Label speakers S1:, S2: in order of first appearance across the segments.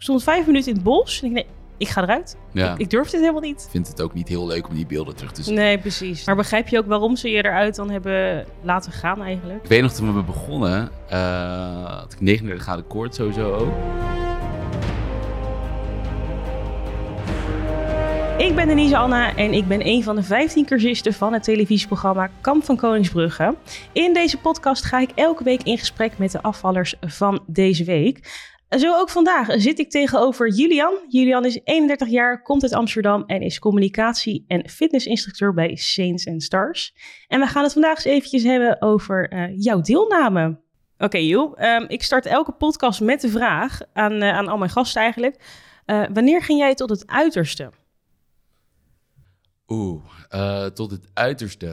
S1: stond vijf minuten in het bos. En ik denk, nee, ik ga eruit.
S2: Ja.
S1: Ik durf dit helemaal niet.
S2: Ik vind het ook niet heel leuk om die beelden terug te zien.
S1: Nee, precies. Maar begrijp je ook waarom ze je eruit dan hebben laten gaan eigenlijk?
S2: Ik weet nog toen we begonnen, eh, had ik 39 graden koorts sowieso ook.
S1: Ik ben Denise Anna en ik ben een van de 15 cursisten van het televisieprogramma Kamp van Koningsbrugge. In deze podcast ga ik elke week in gesprek met de afvallers van deze week. Zo ook vandaag zit ik tegenover Julian. Julian is 31 jaar, komt uit Amsterdam en is communicatie- en fitnessinstructeur bij Saints and Stars. En we gaan het vandaag eens eventjes hebben over eh, jouw deelname. Oké, Jules, ehm, ik start elke podcast met de vraag aan, eh, aan al mijn gasten eigenlijk. eh, wanneer ging jij tot het uiterste?
S2: Oeh, eh, tot het uiterste.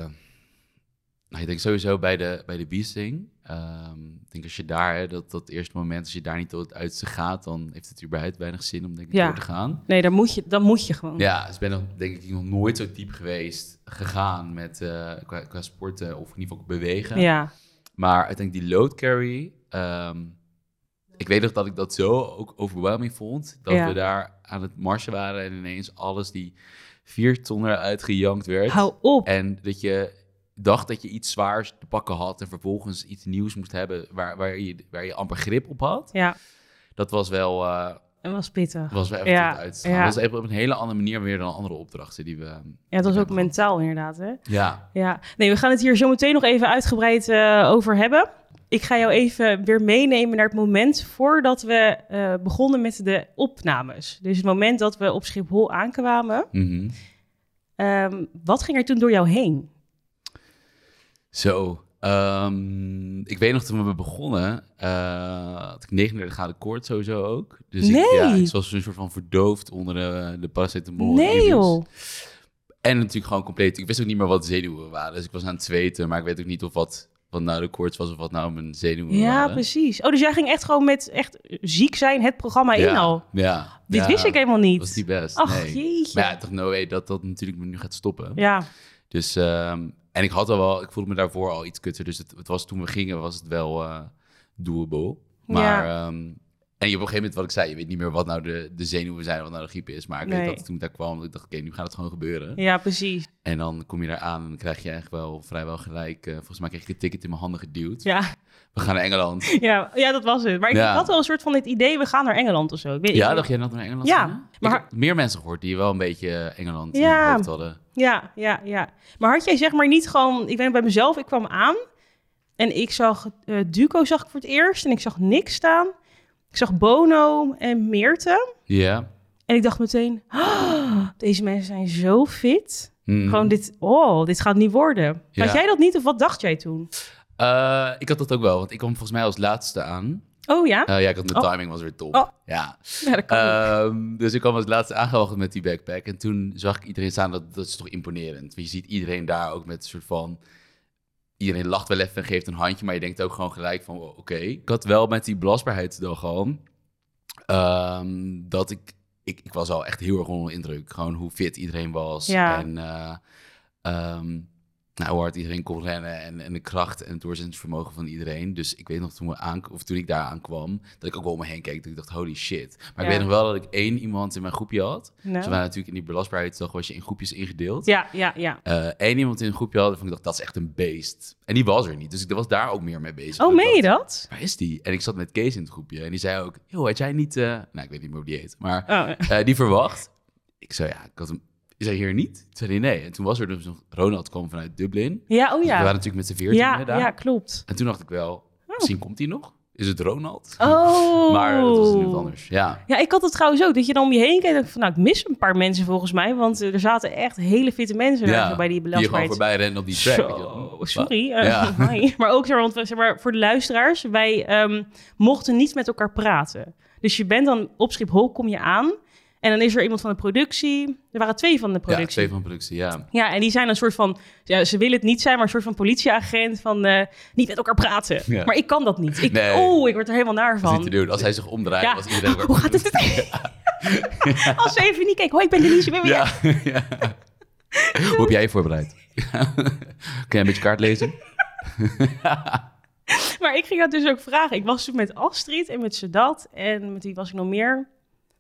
S2: Nou, ik denk sowieso bij de, bij de beasting. Ehm, ik denk als je daar, hè, dat, dat eerste moment, als je daar niet tot het uiterste gaat, dan heeft het überhaupt weinig zin om denk ik
S1: Ja.
S2: door te gaan.
S1: Nee, dan moet je, dan moet je gewoon.
S2: Ja, dus ik ben nog, denk ik nog nooit zo diep geweest gegaan met, eh, qua, qua sporten of in ieder geval bewegen.
S1: Ja.
S2: Maar ik denk die load carry. ehm, ik weet nog dat ik dat zo ook overwhelming vond. Dat
S1: Ja.
S2: we daar aan het marsen waren en ineens alles die vier ton eruit gejankt werd.
S1: Hou op.
S2: En dat je dacht dat je iets zwaars te pakken had en vervolgens iets nieuws moest hebben waar, waar, je, waar je amper grip op had.
S1: Ja,
S2: Dat was wel, eh,
S1: dat was pittig.
S2: was wel even
S1: Ja,
S2: tot uit te gaan.
S1: ja.
S2: Dat is even op een hele andere manier weer dan andere opdrachten die we... ehm,
S1: Ja, dat was ook mentaal inderdaad, hè?
S2: Ja,
S1: Ja. Nee, we gaan het hier zo meteen nog even uitgebreid eh, over hebben. Ik ga jou even weer meenemen naar het moment voordat we eh, begonnen met de opnames. Dus het moment dat we op Schiphol aankwamen.
S2: mhm.
S1: Ehm, wat ging er toen door jou heen?
S2: Zo, ehm, ik weet nog toen we begonnen, eh, had ik 39 graden koorts sowieso ook. Dus ik, ja,
S1: Nee.
S2: ik was een soort van verdoofd onder de, de paracetamol. en
S1: nee
S2: Ibux.
S1: joh.
S2: En natuurlijk gewoon compleet, ik wist ook niet meer wat zenuwen waren. Dus ik was aan het zweten, maar ik weet ook niet of wat, wat nou de koorts was of wat nou mijn zenuwen
S1: Ja,
S2: waren.
S1: precies. Oh, dus jij ging echt gewoon met echt ziek zijn het programma in
S2: Ja,
S1: al.
S2: Ja.
S1: Dit
S2: ja,
S1: wist ik helemaal niet.
S2: Dat was niet best,
S1: Ach,
S2: nee.
S1: jeetje.
S2: Maar ja, ik dacht, no way, dat dat natuurlijk me nu gaat stoppen.
S1: ja.
S2: Dus, ehm, en ik had al wel, ik voelde me daarvoor al iets kutter. Dus het, het was toen we gingen, was het wel eh doable. Maar, ehm, en je op een gegeven moment, wat ik zei, je weet niet meer wat nou de, de zenuwen zijn, wat nou de griep is. Maar ik
S1: Nee.
S2: weet dat toen ik daar kwam, dat ik dacht, oké, nu gaat het gewoon gebeuren.
S1: ja, precies.
S2: En dan kom je daar aan en dan krijg je eigenlijk wel vrijwel gelijk, eh, volgens mij kreeg ik het ticket in mijn handen geduwd.
S1: Ja.
S2: We gaan naar Engeland.
S1: Ja, ja, dat was het. Maar ik
S2: Ja.
S1: had wel een soort van het idee, we gaan naar Engeland of zo. Ik weet
S2: Ja,
S1: niet.
S2: dacht jij dat we naar Engeland
S1: Ja,
S2: gingen?
S1: maar-
S2: Ik heb meer mensen gehoord die wel een beetje eh, Engeland in
S1: Ja.
S2: hun hoofd hadden.
S1: ja, ja, ja. Maar had jij zeg maar niet gewoon... Ik ben bij mezelf, ik kwam aan en ik zag... eh, Duco zag ik voor het eerst en ik zag niks staan. Ik zag Bono en Meerte.
S2: Ja.
S1: En ik dacht meteen, "Ah, deze mensen zijn zo fit.
S2: Hmm.
S1: Gewoon dit, oh, dit gaat niet worden.
S2: Ja.
S1: Had jij dat niet of wat dacht jij toen?
S2: Eh, ik had dat ook wel, want ik kwam volgens mij als laatste aan.
S1: Oh ja?
S2: Eh, ja, ik had mijn
S1: Oh.
S2: timing was weer top.
S1: Oh.
S2: Ja.
S1: Ja, dat kan niet.
S2: Ehm, dus ik kwam als laatste aangewacht met die backpack. En toen zag ik iedereen staan. Dat, dat is toch imponerend. Want je ziet iedereen daar ook met een soort van... Iedereen lacht wel even en geeft een handje. Maar je denkt ook gewoon gelijk van... wow, Oké. Ik had wel met die belastbaarheid gewoon... ehm, dat ik, ik... Ik was al echt heel erg onder de indruk. Gewoon hoe fit iedereen was.
S1: Ja.
S2: En... eh, ehm, nou, hoe hard iedereen kon rennen en, en de kracht en het doorzettingsvermogen van iedereen. Dus ik weet nog toen, we aan, of toen ik daar aankwam, dat ik ook wel om me heen keek. Dat ik dacht, holy shit. Maar
S1: Ja.
S2: ik weet nog wel dat ik één iemand in mijn groepje had.
S1: Nou.
S2: Ze waren natuurlijk in die belastbaarheidsdag, was je in groepjes ingedeeld.
S1: Ja, ja, ja.
S2: Eh, Eén iemand in een groepje had, waarvan ik dacht, dat is echt een beest. En die was er niet, dus ik was daar ook meer mee bezig.
S1: Oh,
S2: Ik
S1: meen je
S2: dacht,
S1: dat?
S2: Waar is die? En ik zat met Kees in het groepje en die zei ook, joh, had jij niet... eh, Nou, ik weet niet meer hoe die heet, maar...
S1: Oh,
S2: Eh, die verwacht. Ik zei, ja, ik had hem... Is hij hier niet? Toen zei hij nee. En toen was er dus nog... Ronald kwam vanuit Dublin.
S1: ja, oh
S2: We waren
S1: ja.
S2: natuurlijk met z'n veertien
S1: Ja,
S2: daar.
S1: ja, klopt.
S2: En toen dacht ik wel, misschien komt hij nog. Is het Ronald?
S1: Oh.
S2: Maar dat was nu wat anders. Ja.
S1: Ja, ik had het trouwens ook. Dat je dan om je heen kijkt. en dacht Van, nou, ik mis een paar mensen volgens mij. Want eh, er zaten echt hele fitte mensen daar zo bij die
S2: Die gewoon
S1: belastbaarheid.
S2: voorbij rennen op die track. weet je wel.
S1: Zo, sorry. eh,
S2: Ja.
S1: hi. Maar ook zo, want we- zeg maar, voor de luisteraars, wij ehm, mochten niet met elkaar praten. Dus je bent dan op Schiphol, kom je aan. En dan is er iemand van de productie. Er waren twee van de
S2: Ja,
S1: productie.
S2: twee van productie, ja.
S1: Ja, en die zijn een soort van, ja, ze willen het niet zijn, maar een soort van politieagent van eh, niet met elkaar praten.
S2: Ja.
S1: Maar ik kan dat niet. Ik,
S2: Nee.
S1: Oh, ik word er helemaal naar
S2: Dat is niet te
S1: van.
S2: doen. Als hij zich omdraait,
S1: Ja.
S2: was iedereen... ook-
S1: Hoe gaat het? Als ze even niet kijken. Hoi, ik ben Denise. ik ben weer-
S2: Ja. ja. Hoe heb jij je voorbereid? Kun jij een beetje kaart lezen?
S1: Maar ik ging dat dus ook vragen. Ik was toen met Astrid en met Sedat en met wie was ik nog meer?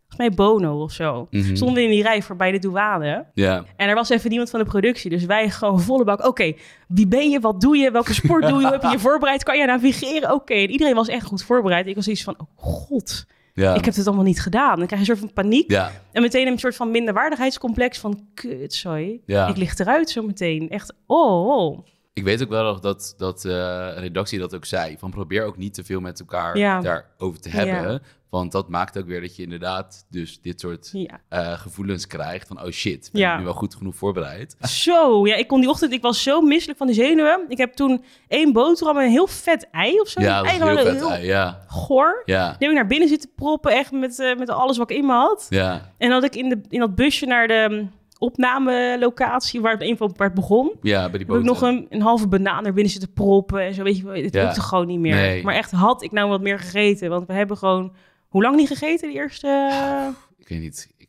S1: volgens mij Bono of zo.
S2: Mhm.
S1: Stonden we in die rij voor bij de douane.
S2: Ja.
S1: En er was even niemand van de productie. Dus wij gewoon volle bak. Oké, wie ben je? Wat doe je? Welke sport doe je? Hoe heb je je voorbereid? Kan je navigeren? Oké. En iedereen was echt goed voorbereid. Ik was iets van, oh god,
S2: Ja.
S1: ik heb dit allemaal niet gedaan. Dan krijg je een soort van paniek.
S2: ja.
S1: En meteen een soort van minderwaardigheidscomplex van... Kut, sorry.
S2: Ja.
S1: Ik lig eruit zo meteen. Echt, oh, oh.
S2: Ik weet ook wel nog dat, dat eh, redactie dat ook zei. Van probeer ook niet te veel met elkaar
S1: Ja.
S2: daarover te hebben. Want dat maakt ook weer dat je inderdaad dus dit soort
S1: Ja.
S2: eh, gevoelens krijgt. Van oh shit, ben
S1: Ja.
S2: ik nu wel goed genoeg voorbereid?
S1: Zo, ja, ik kon die ochtend, ik was zo misselijk van de zenuwen. Ik heb toen één boterham en een heel vet ei of zo.
S2: ja, dat
S1: Ei
S2: is
S1: gewoon
S2: heel vet. ei, ja,
S1: goor.
S2: ja,
S1: Die heb ik naar binnen zitten proppen, echt met, eh, met alles wat ik in me had.
S2: ja,
S1: En dat ik in, de, in dat busje naar de mm, opnamelocatie, waar het, een van- waar het begon,
S2: ja, bij die
S1: heb ik
S2: boten.
S1: nog een, een halve banaan naar binnen zitten proppen. En zo weet je, wel, het
S2: Ja.
S1: lukte gewoon niet meer.
S2: Nee.
S1: Maar echt, had ik nou wat meer gegeten? Want we hebben gewoon, hoe lang niet gegeten de eerste...
S2: Ik weet niet. Ik,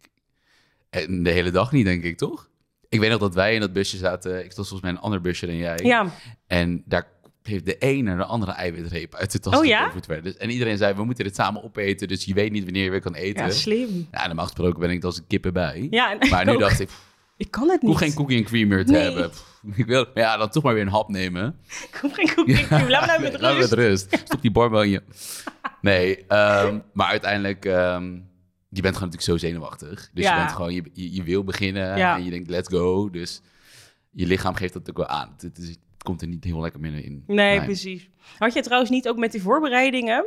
S2: en de hele dag niet, denk ik, toch? Ik weet nog dat wij in dat busje zaten. Ik stond volgens mij in een ander busje dan jij.
S1: ja,
S2: En daar heeft de ene naar de andere eiwitreep uit de tas
S1: Oh ja?
S2: getoverd werden. Dus- en iedereen zei, we moeten dit samen opeten, dus je weet niet wanneer je weer kan eten.
S1: ja,
S2: Ja,
S1: slim.
S2: normaal gesproken ben ik als een kippen bij.
S1: Ja, en
S2: Maar
S1: ik
S2: nu
S1: ook.
S2: dacht ik, pff,
S1: Ik kan het
S2: ik hoef
S1: niet.
S2: geen cookie en cream meer te
S1: Nee.
S2: hebben. Pff, ik wil, maar ja, dan toch maar weer een hap nemen.
S1: Ik hoef geen cookie. Laat me nou met
S2: Laat me
S1: rust.
S2: rust. Stop die barbel in je. Nee, ehm, maar uiteindelijk, ehm, je bent gewoon natuurlijk zo zenuwachtig. Dus
S1: Ja.
S2: je, bent gewoon, je, je, je wil beginnen
S1: Ja.
S2: en je denkt, let's go. Dus je lichaam geeft dat ook wel aan. Het, is- het komt er niet heel lekker meer in.
S1: Nee, precies. Had je trouwens niet ook met die voorbereidingen...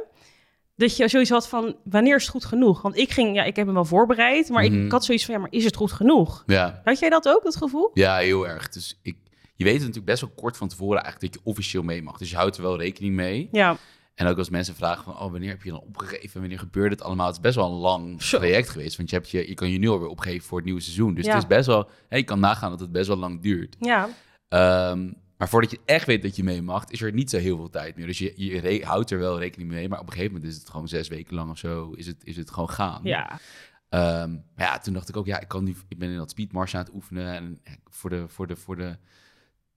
S1: dat je zoiets had van, wanneer is het goed genoeg? Want ik ging, ja, ik heb hem wel voorbereid... maar ik,
S2: Mhm.
S1: ik had zoiets van, ja, maar is het goed genoeg?
S2: Ja.
S1: Had jij dat ook, dat gevoel?
S2: Ja, heel erg. Dus ik, je weet het natuurlijk best wel kort van tevoren eigenlijk dat je officieel mee mag. Dus je houdt er wel rekening mee.
S1: Ja,
S2: En ook als mensen vragen van, oh, wanneer heb je dan opgegeven? Wanneer gebeurt het allemaal? Het is best wel een lang
S1: Zo.
S2: traject geweest. Want je, hebt je, je kan je nu alweer opgeven voor het nieuwe seizoen. Dus
S1: Ja.
S2: het is best wel, hè, je kan nagaan dat het best wel lang duurt.
S1: ja,
S2: Ehm, maar voordat je echt weet dat je mee mag, is er niet zo heel veel tijd meer. Dus je, je re- houdt er wel rekening mee. Maar op een gegeven moment is het gewoon zes weken lang of zo, is het, is het gewoon gaan.
S1: ja.
S2: Ehm, maar ja, toen dacht ik ook, ja, ik, kan nu, ik ben in dat speedmars aan het oefenen. En eh, voor de, voor, de, voor de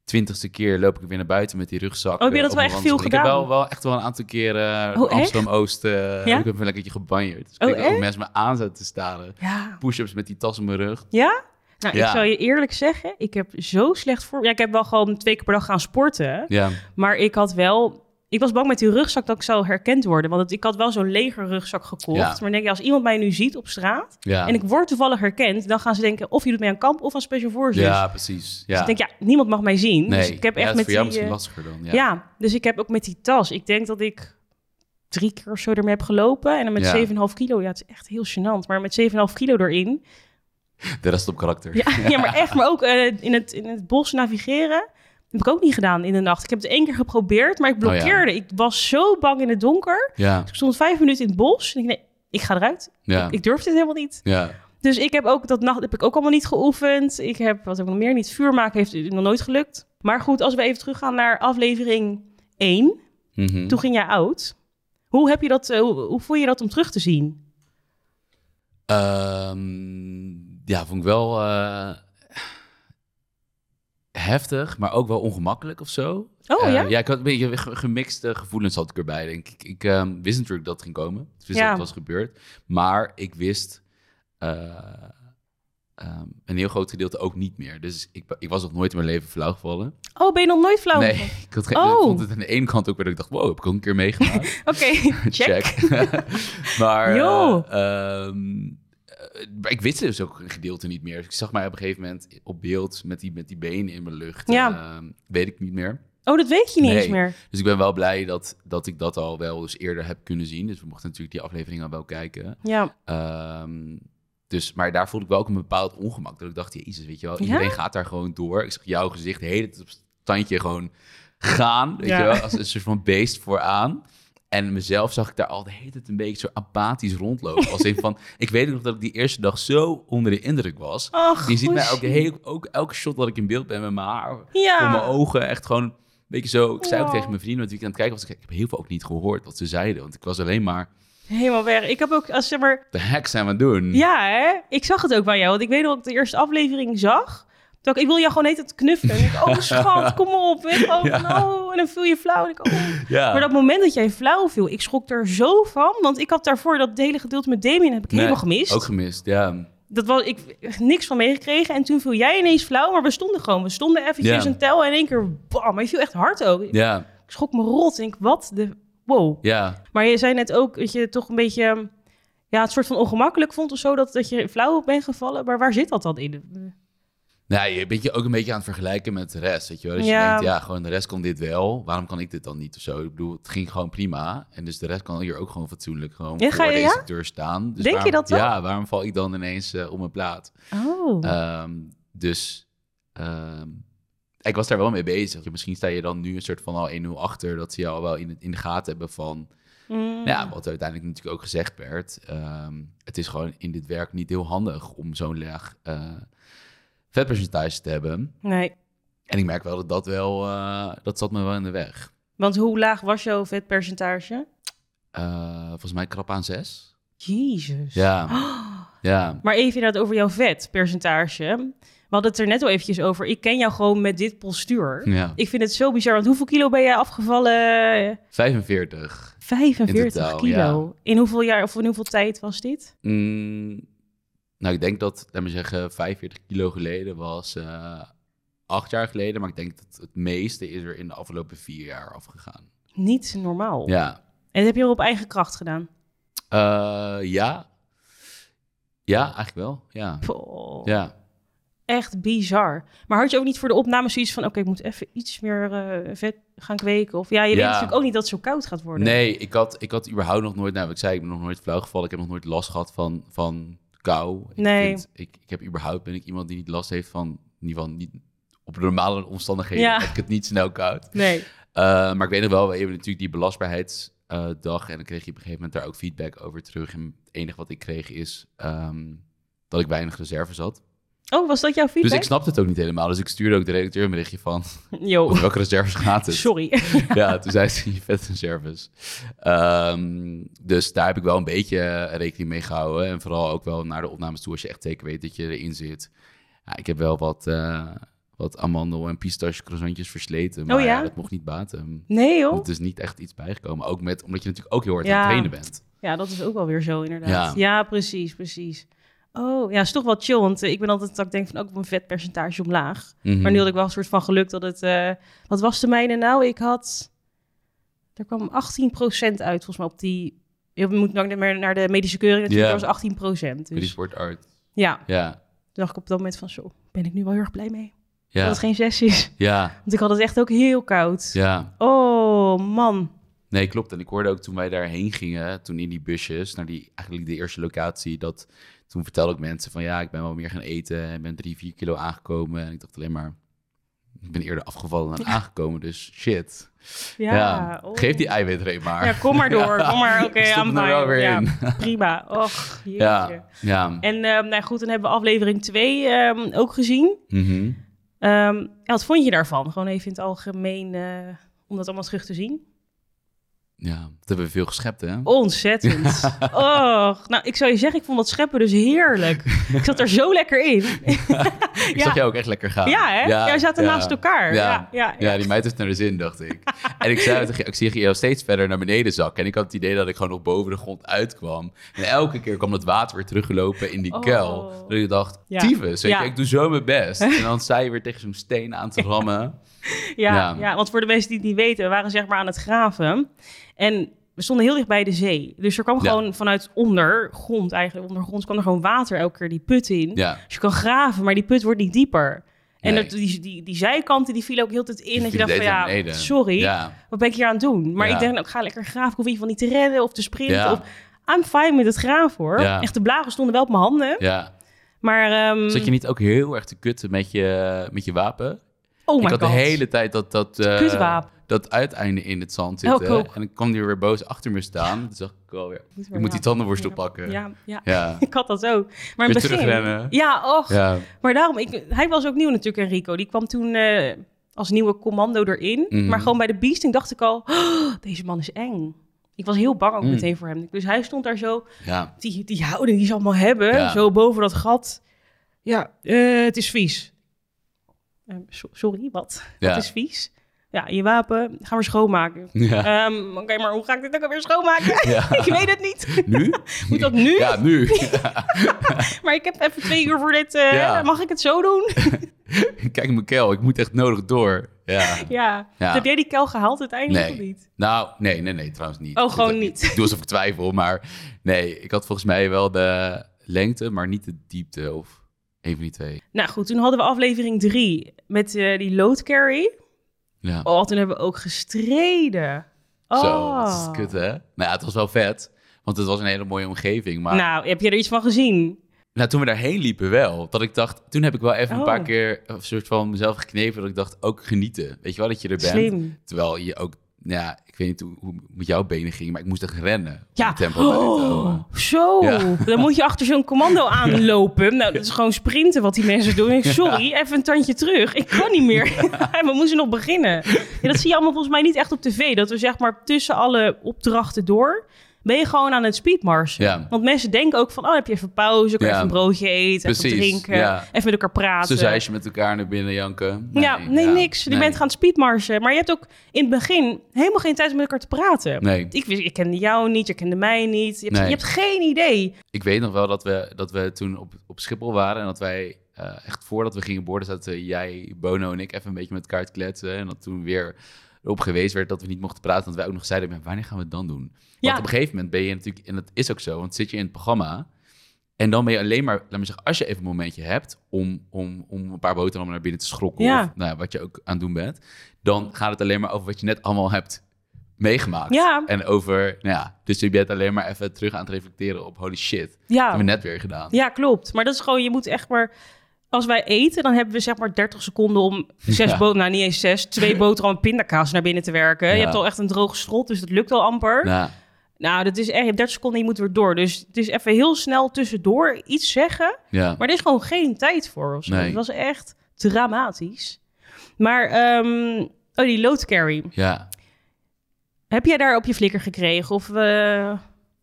S2: twintigste keer loop ik weer naar buiten met die rugzak.
S1: Oh, heb je
S2: eh,
S1: dat
S2: op
S1: wel
S2: mijn
S1: echt veel
S2: wandelschoenen. Ik heb
S1: gedaan?
S2: wel, wel echt wel een aantal keren
S1: Oh, echt?
S2: Amsterdam-Oost. eh,
S1: Ja?
S2: Ik heb een lekkertje gebanjeerd. Dus ik
S1: Oh,
S2: denk dat
S1: echt?
S2: ook mensen me aan zaten te staren.
S1: Ja.
S2: Push-ups met die tas op mijn rug.
S1: Ja? Nou,
S2: Ja.
S1: ik zou je eerlijk zeggen, ik heb zo slecht voor... Ja, ik heb wel gewoon twee keer per dag gaan sporten...
S2: Ja,
S1: maar ik had wel... Ik was bang met die rugzak dat ik zou herkend worden. Want het- ik had wel zo'n legerrugzak gekocht.
S2: Ja.
S1: Maar dan denk je, als iemand mij nu ziet op straat...
S2: ja.
S1: En ik word toevallig herkend, dan gaan ze denken: of je doet mee aan kamp of aan Special Forces.
S2: ja precies. Ja.
S1: Dus ik denk, ja, niemand mag mij zien.
S2: nee,
S1: Dus ik heb
S2: Ja,
S1: echt
S2: dat is
S1: met
S2: voor jou
S1: die.
S2: misschien
S1: eh,
S2: lastiger dan. Ja,
S1: ja. dus ik heb ook met die tas. Ik denk dat ik drie keer of zo ermee heb gelopen. En dan met
S2: Ja.
S1: 7,5 kilo. Ja, het is echt heel gênant. Maar met 7,5 kilo erin.
S2: de rest op karakter.
S1: Ja, ja maar echt. Maar ook eh, in, het, in het bos navigeren. Heb ik ook niet gedaan in de nacht. Ik heb het één keer geprobeerd, maar ik
S2: Oh ja.
S1: blokkeerde. Ik was zo bang in het donker.
S2: Ja,
S1: Dus ik stond vijf minuten in het bos. En ik dacht, nee, ik ga eruit.
S2: ja,
S1: Ik durf dit helemaal niet.
S2: ja.
S1: Dus ik heb ook dat nacht heb ik ook allemaal niet geoefend. Ik heb wat heb ik nog meer niet vuur maken heeft nog nooit gelukt. Maar goed, als we even teruggaan naar aflevering 1,
S2: Mhm.
S1: toen ging jij oud. Hoe heb je dat? eh, Hoe, hoe voel je dat om terug te zien?
S2: Ehm, ja, vond ik wel eh, heftig, maar ook wel ongemakkelijk of zo.
S1: Oh
S2: Eh,
S1: ja,
S2: ik had een beetje ge- gemixte gevoelens had ik erbij, denk ik. Ik ehm, wist natuurlijk dat het ging komen. Ik wist
S1: Ja.
S2: dat het was gebeurd. Maar ik wist eh, ehm, een heel groot gedeelte ook niet meer. Dus ik, ik was nog nooit in mijn leven flauw gevallen.
S1: Oh, ben je nog nooit flauw?
S2: nee,
S1: gevallen?
S2: ik, had geen, ik
S1: Oh.
S2: vond het aan de ene kant ook weer dat ik dacht, wow, heb ik ook een keer meegemaakt.
S1: Oké, check.
S2: maar
S1: Yo.
S2: eh, ehm, eh, maar ik wist dus ook een gedeelte niet meer. Dus ik zag mij op een gegeven moment op beeld met die, met die benen in mijn lucht.
S1: Ja.
S2: Ehm, weet ik niet meer.
S1: Oh, dat weet je niet
S2: Nee.
S1: eens meer.
S2: Dus ik ben wel blij dat, dat ik dat al wel eens eerder heb kunnen zien. Dus we mochten natuurlijk die aflevering al wel kijken.
S1: Ja,
S2: Ehm, dus, maar daar voelde ik wel ook een bepaald ongemak. Dat ik dacht, jezus, weet je wel,
S1: Ja?
S2: iedereen gaat daar gewoon door. Ik zag jouw gezicht de hele tijd op standje gewoon gaan. Weet
S1: Ja.
S2: je wel, als een soort van beest vooraan. En mezelf zag ik daar al de hele tijd een beetje zo apathisch rondlopen. Als in van, ik weet ook nog dat ik die eerste dag zo onder de indruk was.
S1: Ach,
S2: je ziet mij ook, de
S1: Goeie.
S2: hele, ook elke shot dat ik in beeld ben met mijn haar, voor mijn
S1: Oh, ja. Oh.
S2: ogen, echt gewoon een beetje zo. Ik zei ook
S1: Wow.
S2: tegen mijn vrienden met wie ik aan het kijken was, ik ik heb heel veel ook niet gehoord wat ze zeiden. Want ik was alleen maar,
S1: helemaal weg. Ik heb ook, als zeg maar,
S2: de hek zijn we aan het doen.
S1: Ja, hè? ik zag het ook bij jou. Want ik weet nog dat ik de eerste aflevering zag. Terwijl ik, ik wil jou gewoon eten knuffelen. En ik, oh schat, kom op. Weet je, oh,
S2: Ja.
S1: no. En dan viel je flauw. En ik, oh.
S2: Ja.
S1: Maar dat moment dat jij flauw viel, ik schrok er zo van. Want ik had daarvoor dat hele gedeelte met Damien heb ik
S2: Nee,
S1: helemaal gemist.
S2: Ook gemist, ja.
S1: Dat was, ik heb niks van meegekregen. En toen viel jij ineens flauw, maar we stonden gewoon. We stonden eventjes
S2: Ja.
S1: een tel en in één keer bam. Maar je viel echt hard ook.
S2: Ja,
S1: Ik schrok me rot. En ik, wat de... Wow.
S2: ja.
S1: Maar je zei net ook dat je het toch een beetje... ehm, Ja, het soort van ongemakkelijk vond of zo, dat, dat je flauw bent gevallen. Maar waar zit dat dan in?
S2: Nee, Nou, je bent je ook een beetje aan het vergelijken met de rest, weet je wel. Dus
S1: Ja.
S2: je denkt, ja, gewoon de rest kon dit wel. Waarom kan ik dit dan niet of zo? Ik bedoel, het ging gewoon prima. En dus de rest kan hier ook gewoon fatsoenlijk gewoon
S1: Ja, ga
S2: voor
S1: je-
S2: de
S1: ja?
S2: instructeur staan. Dus
S1: Denk je
S2: waarom-
S1: dat wel?
S2: Ja, waarom val ik dan ineens eh, om mijn plaat?
S1: Oh.
S2: Ehm, dus ehm, ik was daar wel mee bezig. Misschien sta je dan nu een soort van al 1-0 achter... dat ze jou wel in, het- in de gaten hebben van...
S1: Mm.
S2: Ja, wat uiteindelijk natuurlijk ook gezegd werd. ehm, het is gewoon in dit werk niet heel handig om zo'n laag eh, vetpercentage te hebben.
S1: Nee,
S2: En ik merk wel dat dat wel, eh, dat zat me wel in de weg.
S1: want hoe laag was jouw vetpercentage?
S2: Eh, volgens mij krap aan zes.
S1: Jezus.
S2: Ja,
S1: Oh.
S2: ja,
S1: Maar even inderdaad over jouw vetpercentage. We hadden het er net al eventjes over. Ik ken jou gewoon met dit postuur.
S2: ja.
S1: Ik vind het zo bizar, want hoeveel kilo ben jij afgevallen?
S2: 45.
S1: 45
S2: In totaal,
S1: kilo. In hoeveel jaar of in hoeveel tijd was dit?
S2: Mm, nou, ik denk dat, laat maar zeggen, 45 kilo geleden was eh, acht jaar geleden. Maar ik denk dat het meeste is er in de afgelopen vier jaar afgegaan.
S1: Niet normaal.
S2: Ja,
S1: En dat heb je wel op eigen kracht gedaan.
S2: Eh, ja. Ja, eigenlijk wel. Ja.
S1: Poh,
S2: Ja.
S1: Echt bizar. Maar had je ook niet voor de opname zoiets van... oké, ik moet even iets meer eh, vet gaan kweken? Of ja, je weet
S2: Ja.
S1: natuurlijk ook niet dat het zo koud gaat worden.
S2: Nee, ik had, ik had überhaupt nog nooit... Nou, wat ik zei, ik ben nog nooit flauw gevallen. Ik heb nog nooit last gehad van, van kou. Ik
S1: Nee.
S2: vind- ik, ik heb überhaupt... Ben ik iemand die niet last heeft van... In ieder geval niet... Op normale omstandigheden
S1: Ja.
S2: heb ik het niet snel koud.
S1: Nee.
S2: Eh, maar ik weet nog wel, we hebben natuurlijk die belastbaarheidsdag. en dan kreeg je op een gegeven moment daar ook feedback over terug. En het enige wat ik kreeg is ehm, dat ik weinig reserves had.
S1: Oh, was dat jouw feedback?
S2: Dus ik snapte het ook niet helemaal. Dus ik stuurde ook de redacteur een berichtje van...
S1: Yo,
S2: Over welke reserves gaat het?
S1: sorry.
S2: Ja, toen zei ze je vet en service. Ehm, dus daar heb ik wel een beetje eh, rekening mee gehouden. En vooral ook wel naar de opnames toe, als je echt zeker weet dat je erin zit. Ja, ik heb wel wat, eh, wat amandel- en pistache croissantjes versleten. Maar
S1: Oh ja?
S2: ja, dat mocht niet baten.
S1: Nee joh.
S2: Het is niet echt iets bijgekomen. Ook met, omdat je natuurlijk ook heel hard
S1: Ja.
S2: aan het trainen bent.
S1: Ja, dat is ook wel weer zo inderdaad. Ja,
S2: Ja.
S1: precies, precies. Oh, ja, is toch wel chill, want eh, ik ben altijd dat ik denk van ook mijn vetpercentage omlaag. Maar
S2: Hmm. Mhm.
S1: nu had ik wel een soort van geluk dat het... eh, wat was de mijne nou? Ik had... Er kwam 18% uit volgens mij op die... Je moet nog meer naar de medische keuring natuurlijk,
S2: Ja.
S1: dat was 18%.
S2: Met die
S1: Dus
S2: sport art.
S1: ja, toen
S2: Ja,
S1: dacht ik op dat moment van zo, ben ik nu wel heel erg blij mee. Dat
S2: ja,
S1: het geen 6 is.
S2: ja,
S1: Want ik had het echt ook heel koud.
S2: ja.
S1: Oh, man.
S2: Nee, klopt. En ik hoorde ook toen wij daarheen gingen, toen in die busjes, naar die eigenlijk de eerste locatie, dat toen vertelde ik mensen van ja, ik ben wel meer gaan eten en ben drie, vier kilo aangekomen. En ik dacht alleen maar, ik ben eerder afgevallen dan aangekomen, dus shit.
S1: Ja,
S2: Ja,
S1: oh.
S2: geef die eiwitreep maar.
S1: Ja, kom maar door. Kom maar. Oké,
S2: Ik stop
S1: I'm
S2: er nou wel
S1: fine.
S2: weer
S1: Ja,
S2: in.
S1: prima. Och, jeetje.
S2: Ja, ja.
S1: En ehm, nou goed, dan hebben we aflevering 2 ook gezien.
S2: Mhm.
S1: Ehm, ja, wat vond je daarvan? Gewoon even in het algemeen, eh, om dat allemaal terug te zien.
S2: ja, dat hebben we veel geschept, hè?
S1: Oh, Ontzettend. Och, nou ik zou je zeggen, ik vond dat scheppen dus heerlijk. Ik zat er zo lekker in.
S2: ik
S1: ja.
S2: zag jou ook echt lekker gaan.
S1: Ja, hè? Jij zat er
S2: ja.
S1: naast elkaar.
S2: Ja.
S1: Ja, ja, ja.
S2: Ja, die meid heeft naar de zin, dacht ik. en ik zei tegen je, ik zie jou steeds verder naar beneden zakken. En ik had het idee dat ik gewoon nog boven de grond uitkwam. En elke keer kwam het water weer teruggelopen in die
S1: Oh.
S2: kuil. Dat ik dacht,
S1: Ja.
S2: tyfus, weet
S1: Ja.
S2: je, ik doe zo mijn best. En dan zei je weer tegen zo'n steen aan te rammen.
S1: Ja, ja.
S2: Ja.
S1: want voor de mensen die het niet weten, we waren zeg maar aan het graven. En we stonden heel dicht bij de zee. Dus er kwam
S2: Ja.
S1: gewoon vanuit ondergrond eigenlijk, ondergrond kwam er gewoon water elke keer die put in.
S2: Ja,
S1: Dus je kan graven, maar die put wordt niet dieper. En
S2: Nee.
S1: dat, die, die, die zijkanten die vielen ook heel de tijd in.
S2: Die
S1: Dat je dacht van
S2: vielen
S1: ja,
S2: naar beneden.
S1: sorry,
S2: ja,
S1: wat ben ik hier aan het doen? Maar
S2: Ja.
S1: ik denk, nou, ik ga lekker graven. Ik hoef in ieder geval niet te redden of te sprinten.
S2: Ja.
S1: Of, I'm fine met het graven hoor.
S2: Ja.
S1: Echt, de blaren stonden wel op mijn handen.
S2: ja.
S1: Maar, ehm,
S2: Zat je niet ook heel erg te kutten met je, met je wapen?
S1: oh my
S2: ik had
S1: god.
S2: de hele tijd dat, dat, eh,
S1: Kutwapen.
S2: dat uiteinde in het zand
S1: Oh,
S2: zitten.
S1: ik ook.
S2: en dan kwam die weer boos achter me staan. Toen dacht ik alweer, ik moet die tandenborstel pakken.
S1: Ja, ja.
S2: ja.
S1: Ik had dat ook. Maar in
S2: Weer
S1: het begin...
S2: terugrennen.
S1: Ja, och.
S2: Ja.
S1: Maar daarom, ik, hij was ook nieuw natuurlijk, Enrico. Die kwam toen eh, als nieuwe commando erin.
S2: Mhm.
S1: Maar gewoon bij de beasting dacht ik al, "Oh, deze man is eng. Ik was heel bang ook
S2: Mm.
S1: meteen voor hem. Dus hij stond daar zo,
S2: Ja.
S1: die, die houding die ze allemaal hebben,
S2: Ja.
S1: zo boven dat gat. Ja, eh, het is vies. eh, so- sorry, wat?
S2: Ja.
S1: Dat is vies. Ja, je wapen, gaan we schoonmaken.
S2: Ja.
S1: Ehm, Oké, maar hoe ga ik dit ook alweer schoonmaken?
S2: Ja.
S1: ik weet het niet.
S2: Nu?
S1: Moet dat nu?
S2: Ja, nu.
S1: Maar ik heb even twee uur voor dit. eh,
S2: Ja.
S1: Mag ik het zo doen?
S2: Kijk mijn kel, ik moet echt nodig door. Ja.
S1: ja. Dus
S2: Ja.
S1: Heb jij die kel gehaald uiteindelijk
S2: Nee.
S1: of niet?
S2: Nou, nee, nee, nee, trouwens niet.
S1: Oh, gewoon
S2: Ik-
S1: niet.
S2: Ik doe alsof ik twijfel, maar nee, ik had volgens mij wel de lengte, maar niet de diepte of een van die twee.
S1: Nou goed, toen hadden we aflevering drie met eh, die load carry.
S2: Ja.
S1: Oh, toen hebben we ook gestreden. Oh.
S2: Zo, dat is kut, hè? Nou ja, het was wel vet, want het was een hele mooie omgeving. Maar nou.
S1: Nou, heb je er iets van gezien?
S2: toen we daarheen liepen wel, dat ik dacht... Toen heb ik wel even
S1: Oh.
S2: een paar keer een soort van mezelf geknepen... dat ik dacht, ook genieten. Weet je wel, dat je er bent.
S1: Slim.
S2: Terwijl je ook... nou Ja, ik weet niet hoe, hoe het met jouw benen ging, maar ik moest echt rennen. om
S1: Ja.
S2: het tempo bij te houden.
S1: Oh, zo.
S2: Ja.
S1: Dan moet je achter zo'n commando aanlopen. Nou, dat is gewoon sprinten wat die mensen doen. Ik, sorry, even een tandje terug. Ik kan niet meer. We moeten nog beginnen. Ja, dat zie je allemaal volgens mij niet echt op tv. Dat we zeg maar tussen alle opdrachten door... ben je gewoon aan het speedmarsen.
S2: Ja.
S1: Want mensen denken ook van... oh, heb je even pauze, kan je
S2: Ja.
S1: even een broodje eten, even
S2: Precies,
S1: drinken...
S2: ja.
S1: even met elkaar praten.
S2: Zo zei je met elkaar naar binnen janken.
S1: ja, nee, niks. Je
S2: nee.
S1: bent gaan speedmarsen. Maar je hebt ook in het begin helemaal geen tijd om met elkaar te praten.
S2: Nee.
S1: Ik, wist, ik kende jou niet, je kende mij niet. Je hebt,
S2: Nee.
S1: je hebt geen idee.
S2: Ik weet nog wel dat we, dat we toen op, op Schiphol waren en dat wij eh, echt voordat we gingen boorden zaten jij, Bono en ik even een beetje met elkaar te kletsen. En dat toen weer op geweest werd dat we niet mochten praten, dat wij ook nog zeiden, "Maar wanneer gaan we het dan doen? Want
S1: Ja.
S2: op een gegeven moment ben je natuurlijk, en dat is ook zo, want zit je in het programma en dan ben je alleen maar, laat me zeggen, als je even een momentje hebt om, om, om een paar boterhammen naar binnen te schrokken
S1: Ja.
S2: of nou, ja, wat je ook aan het doen bent, dan gaat het alleen maar over wat je net allemaal hebt meegemaakt.
S1: Ja.
S2: En over, nou ja, dus je bent alleen maar even terug aan het reflecteren op holy shit.
S1: Ja.
S2: Hebben we net weer gedaan.
S1: ja, klopt. Maar dat is gewoon, je moet echt maar... Als wij eten, dan hebben we zeg maar 30 seconden om zes
S2: Ja.
S1: boter- nou niet eens zes, twee boterhammen en pindakaas naar binnen te werken. Je
S2: Ja.
S1: hebt al echt een droge strot, dus dat lukt al amper.
S2: Nou,
S1: Nou, dat is echt, je hebt 30 seconden, je moet weer door. Dus het is even heel snel tussendoor iets zeggen.
S2: ja.
S1: Maar er is gewoon geen tijd voor of zo.
S2: Nee.
S1: Het was echt dramatisch. Maar, ehm, oh, die load carry.
S2: ja.
S1: Heb jij daar op je flikker gekregen? Of, eh,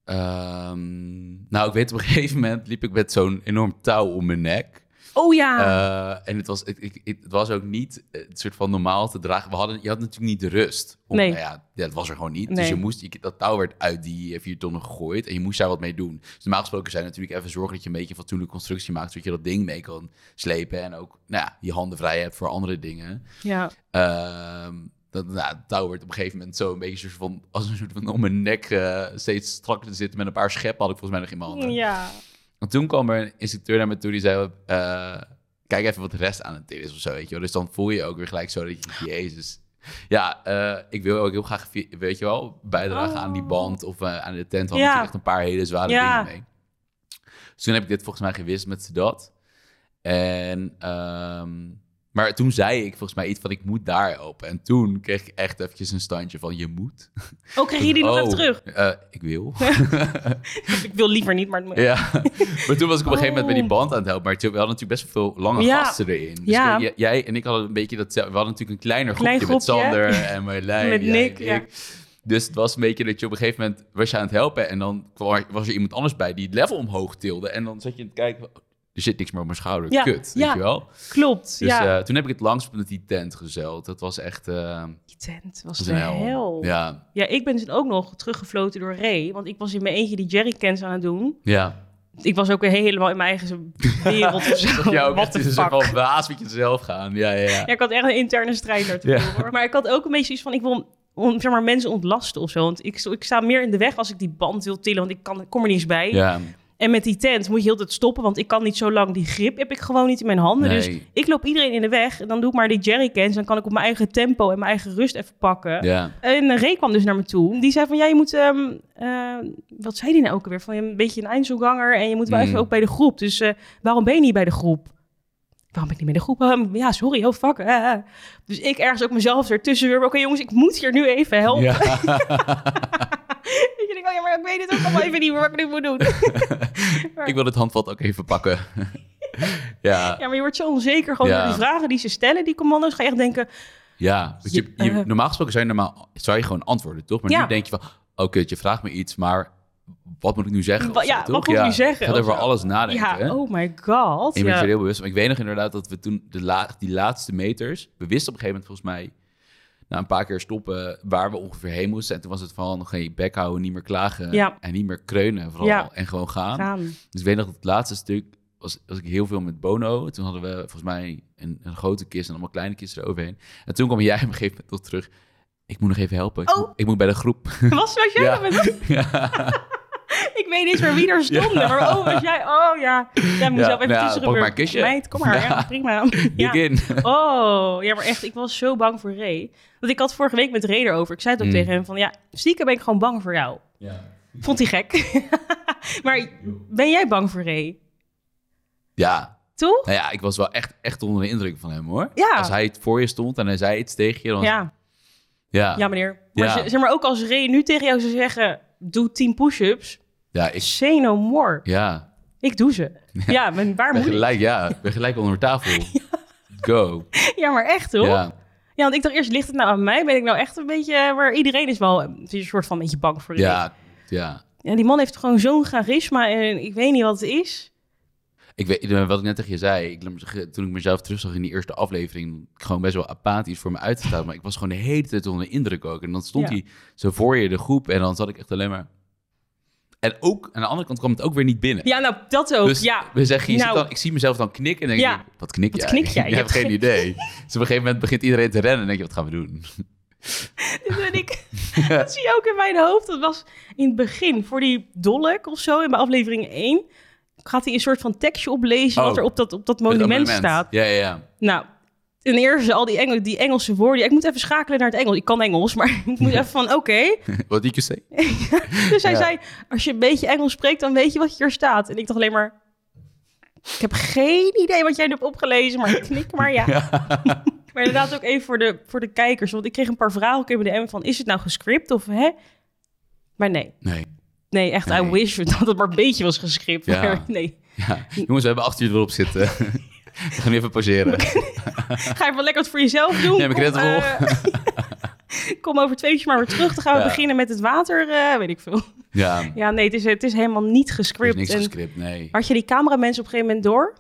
S2: Ehm, nou, ik weet op een gegeven moment liep ik met zo'n enorm touw om mijn nek.
S1: Oh ja,
S2: Eh, en het was, het, ik- het was ook niet eh, het soort van normaal te dragen. We hadden, je had natuurlijk niet de rust. Om,
S1: Nee.
S2: nou ja, dat was er gewoon niet.
S1: Nee.
S2: Dus je moest, je- dat touw werd uit die eh, vier tonnen gegooid. En je moest daar wat mee doen. Dus normaal gesproken zijn natuurlijk even zorgen dat je een beetje een fatsoenlijke constructie maakt. Zodat je dat ding mee kan slepen. En ook nou ja, je handen vrij hebt voor andere dingen.
S1: ja.
S2: Ehm, dat, nou, het touw werd op een gegeven moment zo een beetje soort van, als een soort van om mijn nek eh, steeds strakker te zitten. Met een paar scheppen had ik volgens mij nog in mijn handen.
S1: Ja.
S2: En toen kwam er een instructeur naar me toe die zei, eh, kijk even wat de rest aan het doen is of zo, weet je wel. Dus dan voel je je ook weer gelijk zo dat je, jezus. Ja, eh, ik wil ook heel graag, vi- weet je wel, bijdragen aan die
S1: Oh.
S2: band of eh, aan de tent. Want
S1: Ja.
S2: ja. echt een paar hele zware
S1: Ja.
S2: dingen mee. Dus toen heb ik dit volgens mij gewist met dat. En, ehm, maar toen zei ik volgens mij iets van, ik moet daar helpen. En toen kreeg ik echt eventjes een standje van, je moet.
S1: Oh, kreeg je die nog
S2: Oh,
S1: even terug?
S2: eh, ik wil.
S1: Ik wil liever niet, maar... Ja.
S2: Ja, maar toen was ik op een gegeven moment bij die
S1: Oh.
S2: band aan het helpen. Maar toen- we hadden natuurlijk best wel veel lange
S1: Ja.
S2: gasten erin. Dus
S1: Ja.
S2: ik- j- jij en ik hadden een beetje dat... We hadden natuurlijk een kleiner groepje,
S1: Klein
S2: met
S1: groepje.
S2: Sander en Marlijn.
S1: Met
S2: jij
S1: Nick,
S2: en
S1: ja.
S2: ik. Dus het was een beetje dat je op een gegeven moment was je aan het helpen... en dan kwam er- was er iemand anders bij die het level omhoog tilde. En dan zat je aan het kijken... van, "Oh, Er zit niks meer op mijn schouder.
S1: Ja,
S2: Kut,
S1: ja.
S2: weet je wel?
S1: Klopt,
S2: Dus
S1: ja.
S2: eh, toen heb ik het langs met die tent gezeild. Dat was echt... eh,
S1: die tent was
S2: dat was
S1: de
S2: een hel.
S1: hel. Ja.
S2: Ja,
S1: ik ben dus ook nog teruggefloten door Ray. Want ik was in mijn eentje die jerrycans aan het doen.
S2: ja.
S1: Ik was ook weer helemaal in mijn eigen wereld of zo.
S2: ja ook
S1: Wat
S2: echt
S1: de
S2: in een soort
S1: fuck.
S2: van baas met jezelf gaan. Ja, ja, ja.
S1: Ja, ik had echt een interne strijd daar te
S2: Ja.
S1: voeren, hoor. Maar ik had ook een beetje iets van, ik wil om, zeg maar, mensen ontlasten of zo. Want ik, sto- ik sta meer in de weg als ik die band wil tillen, want ik kan, ik kom er niet eens bij.
S2: ja.
S1: En met die tent moet je heel de tijd stoppen, want ik kan niet zo lang. Die grip heb ik gewoon niet in mijn handen. Dus
S2: Nee.
S1: ik loop iedereen in de weg en dan doe ik maar die jerrycans. Dan kan ik op mijn eigen tempo en mijn eigen rust even pakken.
S2: ja.
S1: En Ray kwam dus naar me toe. Die zei van, ja, je moet... ehm, eh, wat zei die nou ook alweer? Van, je bent een beetje een eindselganger en je moet wel
S2: Mm.
S1: even ook bij de groep. Dus eh, waarom ben je niet bij de groep? Waarom ben ik niet bij de groep? Ehm, ja, sorry, oh fuck. eh, eh. Dus ik ergens ook mezelf ertussen weer. Oké jongens, ik moet hier nu even helpen.
S2: Ja.
S1: Ik denk, oh ja, maar ik weet het ook allemaal even niet meer wat ik nu moet doen.
S2: Ik wil het handvat ook even pakken. ja,
S1: Ja, maar je wordt zo onzeker gewoon
S2: Ja.
S1: door die vragen die ze stellen, die commando's. Ga je echt denken,
S2: ja. Want je,
S1: Je-
S2: je-
S1: eh.
S2: normaal gesproken zou je, normaal, zou je gewoon antwoorden, toch? Maar
S1: Ja.
S2: nu denk je van, oh kut, je vraagt me iets, maar wat moet ik nu zeggen?
S1: Wa-
S2: of zo,
S1: ja,
S2: toch?
S1: wat moet ik nu zeggen?
S2: Gaat
S1: Of
S2: over
S1: zo.
S2: alles nadenken.
S1: Ja,
S2: hè?
S1: oh my god.
S2: En je bent
S1: Ja.
S2: er heel bewust. Maar ik weet nog inderdaad dat we toen de la- die laatste meters... We wisten op een gegeven moment volgens mij... Na een paar keer stoppen waar we ongeveer heen moesten. En toen was het van nog geen bek houden, niet meer klagen.
S1: Ja.
S2: En niet meer kreunen vooral.
S1: Ja.
S2: En gewoon gaan.
S1: Gaan.
S2: Dus ik weet nog dat het laatste stuk was, was ik heel veel met Bono. Toen hadden we volgens mij een, een grote kist en allemaal kleine kisten eroverheen. En toen kwam jij op een gegeven moment nog terug. Ik moet nog even helpen. Ik,
S1: Oh.
S2: moet, ik moet bij de groep.
S1: Was, was jij
S2: Ja.
S1: dat met
S2: ja.
S1: Ik weet niet eens meer wie er stonden, maar oh, was jij... Oh ja, jij moet
S2: Ja,
S1: zelf even
S2: nou ja,
S1: tussen
S2: pak
S1: gebeuren.
S2: maar een kusje.
S1: Meid, kom maar, ja,
S2: Ja.
S1: prima.
S2: Dik
S1: Ja.
S2: in.
S1: Oh, ja, maar echt, ik was zo bang voor Ray. Want ik had vorige week met Ray erover. Ik zei het ook
S2: Mm.
S1: tegen hem van, ja, stiekem ben ik gewoon bang voor jou.
S2: Ja.
S1: Vond hij gek. maar ben jij bang voor Ray? Toch?
S2: nou ja, ik was wel echt, echt onder de indruk van hem hoor.
S1: Ja.
S2: Als hij het voor je stond en hij zei iets tegen je, dan was-
S1: Ja,
S2: ja.
S1: ja
S2: Ja.
S1: meneer. Maar,
S2: Ja.
S1: z- zeg maar ook als Ray nu tegen jou zou zeggen, doe 10 push-ups.
S2: ik...
S1: Say no more.
S2: Ja,
S1: Ik doe ze. Ja, maar waar
S2: ben
S1: moet ik?
S2: gelijk, ja. Ik ben gelijk onder de tafel. Go.
S1: Ja, maar echt toch?
S2: Ja.
S1: Ja, want ik dacht eerst, ligt het nou aan mij? Ben ik nou echt een beetje... eh, Maar iedereen is wel eh, het is een soort van een beetje bang voor dit.
S2: ja, ja.
S1: En die man heeft gewoon zo'n charisma en ik weet niet wat het is.
S2: Ik weet, eh, wat ik net tegen je zei, ik, laat maar zeggen, toen ik mezelf terugzag in die eerste aflevering, gewoon best wel apathisch voor me uit te staan. Maar ik was gewoon de hele tijd onder de indruk ook. En dan stond
S1: Ja.
S2: hij zo voor je, de groep, en dan zat ik echt alleen maar... En ook, aan de andere kant kwam het ook weer niet binnen.
S1: Ja, nou, dat ook.
S2: dus
S1: ja,
S2: we zeggen, je
S1: Nou.
S2: ziet dan, ik zie mezelf dan knikken en denk
S1: Ja.
S2: ik, wat knik
S1: Wat
S2: jij?
S1: knik jij?
S2: Je,
S1: Je
S2: hebt
S1: hebt
S2: geen idee. Dus op een gegeven moment begint iedereen te rennen en denk je, wat gaan we doen?
S1: dit ben ik. dat zie je ook in mijn hoofd. Dat was in het begin voor die Dollek of zo, in mijn aflevering 1. Gaat hij een soort van tekstje oplezen wat
S2: Oh.
S1: er op dat, op dat monument
S2: Het
S1: staat.
S2: Ja, ja, ja.
S1: Nou, ten eerste al die, Engel, die Engelse woorden. Ja, ik moet even schakelen naar het Engels. Ik kan Engels, maar ik moet even van, oké.
S2: Wat did you say?
S1: Dus hij
S2: Ja.
S1: zei, als je een beetje Engels spreekt, dan weet je wat hier staat. En ik dacht alleen maar, ik heb geen idee wat jij hebt opgelezen, maar knik maar ja. maar inderdaad ook even voor de, voor de kijkers, want ik kreeg een paar vragen ook in de M van, is het nou gescript of hè? Maar nee,
S2: Nee.
S1: nee, echt, I
S2: Nee.
S1: wish dat het maar een beetje was gescript.
S2: Ja.
S1: Maar nee,
S2: Ja. Jongens, we hebben acht uur erop zitten. we gaan nu even pauzeren.
S1: ga even lekker wat voor jezelf doen.
S2: Neem een
S1: Kom,
S2: krentenrol.
S1: eh, Kom over twee uurtjes maar weer terug. Dan gaan we
S2: Ja.
S1: beginnen met het water, eh, weet ik veel.
S2: Ja, er
S1: Ja, nee, het is, het is helemaal niet
S2: is
S1: gescript.
S2: niks
S1: En
S2: gescript, nee.
S1: Had je die cameramensen op een gegeven moment door?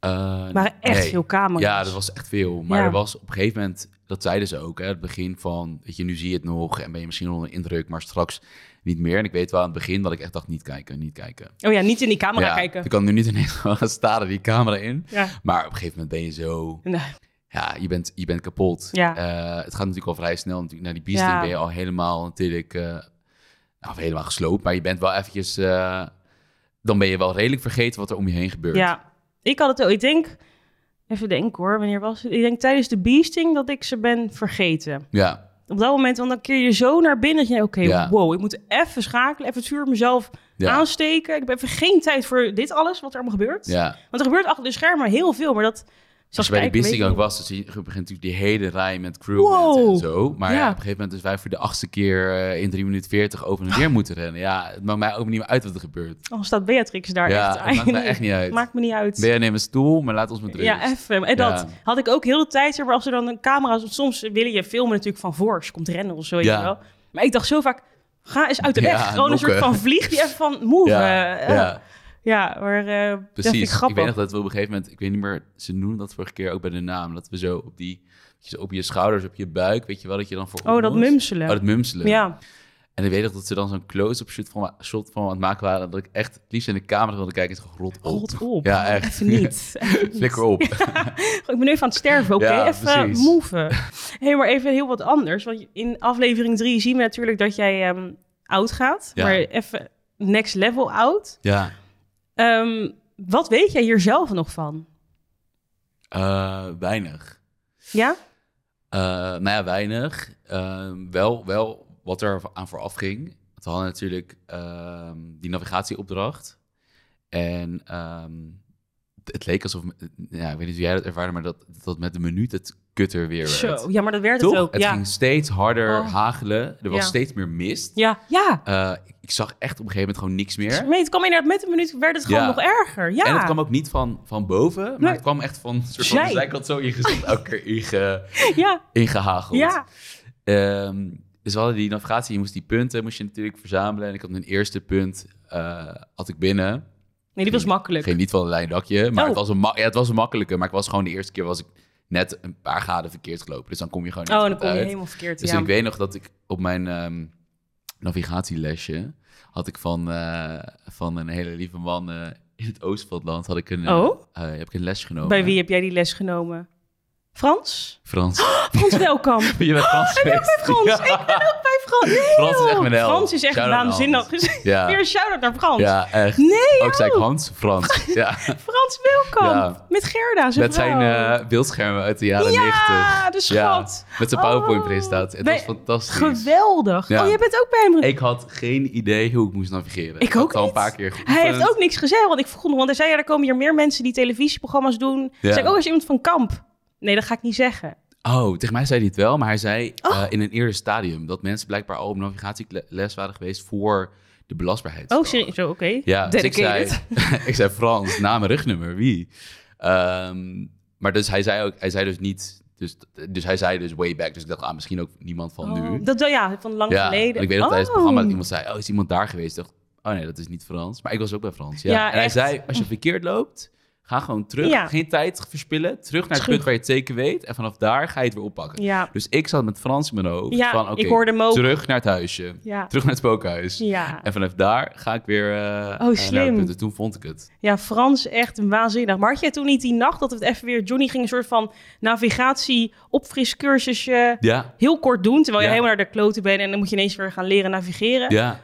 S2: Eh,
S1: Er waren echt
S2: nee.
S1: veel camera's.
S2: Ja, dat was echt veel. Maar
S1: Ja.
S2: er was op een gegeven moment, dat zeiden ze ook, hè, het begin van, weet je, nu zie je het nog en ben je misschien onder de indruk, maar straks niet meer. En ik weet wel aan het begin dat ik echt dacht, niet kijken, niet kijken.
S1: Oh ja, niet in die camera
S2: Ja,
S1: kijken.
S2: Ik kan nu niet ineens gewoon gaan staren die camera in.
S1: Ja.
S2: Maar op een gegeven moment ben je zo,
S1: Nee.
S2: ja, je bent, je bent kapot.
S1: Ja.
S2: Eh, het gaat natuurlijk al vrij snel natuurlijk naar die beasting
S1: Ja.
S2: ben je al helemaal natuurlijk, eh, nou, of helemaal gesloopt, maar je bent wel eventjes, eh, dan ben je wel redelijk vergeten wat er om je heen gebeurt.
S1: Ja, ik had het ook. Ik denk, even denken hoor, wanneer was het? Ik denk tijdens de beasting dat ik ze ben vergeten.
S2: ja.
S1: Op dat moment, want dan keer je zo naar binnen dat je denkt, oké,
S2: Ja.
S1: wow, ik moet even schakelen, even het vuur op mezelf
S2: Ja.
S1: aansteken. Ik heb even geen tijd voor dit alles, wat er allemaal gebeurt.
S2: ja.
S1: Want er gebeurt achter de schermen heel veel, maar dat...
S2: Als
S1: zoals
S2: je bij de
S1: kijken, weet
S2: Beasting
S1: je
S2: ook
S1: niet.
S2: was, dus je begint natuurlijk die hele rij met crew
S1: Wow.
S2: en zo. Maar
S1: Ja.
S2: ja, op een gegeven moment is wij voor de achtste keer eh, in 3 minuten 40 over en
S1: Ah.
S2: weer moeten rennen. Ja, het maakt mij ook niet meer uit wat er gebeurt.
S1: Dan Oh, staat Beatrix daar echt.
S2: ja, het maakt mij echt niet uit.
S1: Maakt me niet uit.
S2: Ben je neem een stoel, maar laat ons met rust.
S1: Ja, even. En dat
S2: Ja.
S1: had ik ook heel de tijd. zeg Maar als er dan een camera... Soms willen je filmen natuurlijk van voor. ze komt rennen of zo. weet
S2: Ja.
S1: je wel. Maar ik dacht zo vaak... Ga eens uit de
S2: Ja,
S1: weg. Gewoon een
S2: nokken.
S1: soort van vlieg die even van move.
S2: Ja,
S1: eh, eh. ja.
S2: ja,
S1: maar eh, dat vind ik
S2: precies. Ik,
S1: grappig.
S2: weet nog dat we op een gegeven moment, ik weet niet meer, ze noemden dat vorige keer ook bij de naam, dat we zo op die, dat je zo op je schouders, op je buik, weet je wel, dat je dan voor
S1: oh, dat
S2: opmoest.
S1: mumselen.
S2: Oh, dat mumselen.
S1: ja.
S2: En ik weet nog dat ze dan zo'n close-up shot van, shot van me aan het maken waren, dat ik echt het liefst in de camera wilde kijken. Ik zeg, rot op.
S1: God op.
S2: Oh. Ja, echt.
S1: Even niet. Even niet.
S2: Flikker op.
S1: Ik ben even aan het sterven, oké?
S2: Ja,
S1: even
S2: precies.
S1: move. hey, maar even heel wat anders. Want in aflevering 3 zien we natuurlijk dat jij ehm oud gaat.
S2: Ja.
S1: Maar even next level oud.
S2: Ja.
S1: Ehm, wat weet jij hier zelf nog van?
S2: Eh, weinig.
S1: Ja?
S2: Eh, nou ja, weinig. Ehm, wel, wel wat er aan vooraf ging. Want we hadden natuurlijk ehm, die navigatieopdracht. En ehm, het- het leek alsof... Ja, ik weet niet hoe jij dat ervaarde, maar dat, dat met de minuut het kutter weer werd.
S1: Zo. Ja, maar dat werd
S2: Toch?
S1: het ook. ja.
S2: ging steeds harder
S1: Oh.
S2: hagelen. Er was
S1: Ja.
S2: steeds meer mist.
S1: ja, ja.
S2: Eh, ik- ik zag echt op een gegeven moment gewoon niks meer.
S1: Nee, het kwam inderdaad met een minuut, werd het gewoon
S2: Ja.
S1: nog erger. Ja.
S2: En het kwam ook niet van, van boven, maar
S1: Nee.
S2: het kwam echt van een soort van de
S1: Zij.
S2: zijkant zo in je gezicht elke keer inge-
S1: ja,
S2: ingehageld.
S1: ja.
S2: Ehm, Dus we hadden die navigatie, je moest die punten moest je natuurlijk verzamelen. En ik had mijn eerste punt eh, had ik binnen.
S1: Nee, die was makkelijk.
S2: Geen niet van een lijn dakje, maar
S1: Oh.
S2: het, was een ma- ja, het was een makkelijke. Maar ik was gewoon de eerste keer was ik net een paar graden verkeerd gelopen. Dus dan kom je gewoon niet
S1: oh, dan
S2: goed
S1: kom je
S2: uit.
S1: helemaal verkeerd.
S2: Dus
S1: ja.
S2: ik weet nog dat ik op mijn ehm, navigatielesje had ik van, eh, van een hele lieve man eh, in het oosten van het land had ik een, eh,
S1: Oh?
S2: eh, heb ik een les genomen.
S1: Bij wie heb jij die les genomen? Frans?
S2: Frans.
S1: Frans welkom. Ik
S2: Je bent Frans geweest.
S1: ben Frans. Ik ben ook bij Frans. Nee,
S2: Frans is echt
S1: joh.
S2: mijn held.
S1: Frans is echt
S2: Shout-out naar
S1: waanzinnig.
S2: Hans.
S1: Dus weer
S2: Ja,
S1: een shout-out naar Frans.
S2: ja, echt.
S1: Nee, oh,
S2: Ook zei ik Hans, Frans. Ja,
S1: Frans welkom.
S2: Ja.
S1: Met Gerda, zijn
S2: met zijn
S1: vrouw.
S2: eh, beeldschermen uit de jaren
S1: ja,
S2: 90.
S1: de
S2: Ja,
S1: schat.
S2: met zijn
S1: Oh.
S2: PowerPoint-presentatie. Het
S1: Wij-
S2: was fantastisch.
S1: Geweldig.
S2: Ja.
S1: Oh, jij bent ook bij hem.
S2: Ik had geen idee hoe ik moest navigeren.
S1: Ik
S2: had
S1: ook
S2: het al een
S1: niet.
S2: paar keer
S1: Hij
S2: geoefend.
S1: heeft ook niks gezegd, want ik vroeg nog, want hij zei, ja, er komen hier meer mensen die televisieprogramma's doen.
S2: Ja.
S1: Zeg ook eens "Oh, iemand van kamp. Nee, dat ga ik niet zeggen.
S2: Oh, tegen mij zei hij het wel, maar hij zei
S1: Oh.
S2: eh, in een eerder stadium dat mensen blijkbaar al op navigatieles waren geweest voor de belastbaarheid.
S1: Oh, serieus? Zo, oké.
S2: Ja, dus ik zei,
S1: Dedicated.
S2: ik zei Frans, naam en rugnummer, wie? Ehm, maar dus hij zei ook, hij zei dus niet, dus, dus hij zei dus way back, dus ik dacht, ah, misschien ook niemand van
S1: Oh,
S2: nu.
S1: Dat, ja, van lang
S2: ja,
S1: geleden.
S2: want ik weet nog
S1: oh.
S2: tijdens het programma dat iemand zei, oh, is iemand daar geweest? Ik dacht, oh nee, dat is niet Frans. Maar ik was ook bij Frans, ja.
S1: Ja,
S2: en hij
S1: echt.
S2: zei, als je verkeerd loopt, ga gewoon terug,
S1: Ja.
S2: geen tijd verspillen, terug naar
S1: Terug.
S2: het punt waar je het zeker weet en vanaf daar ga je het weer oppakken.
S1: Ja,
S2: Dus ik zat met Frans in mijn hoofd.
S1: Ja,
S2: van, oké,
S1: ik hoorde hem ook.
S2: Terug naar het huisje.
S1: ja,
S2: Terug naar het spookhuis.
S1: ja. Oh,
S2: En vanaf daar ga ik weer eh, eh, naar
S1: slim.
S2: het punt. En toen vond ik het.
S1: Ja, Frans echt waanzinnig. Maar had jij toen niet die nacht dat we het even weer... Johnny ging een soort van navigatie-opfriscursusje
S2: Ja,
S1: heel kort doen... terwijl je
S2: Ja.
S1: helemaal naar de kloten bent en dan moet je ineens weer gaan leren navigeren.
S2: ja,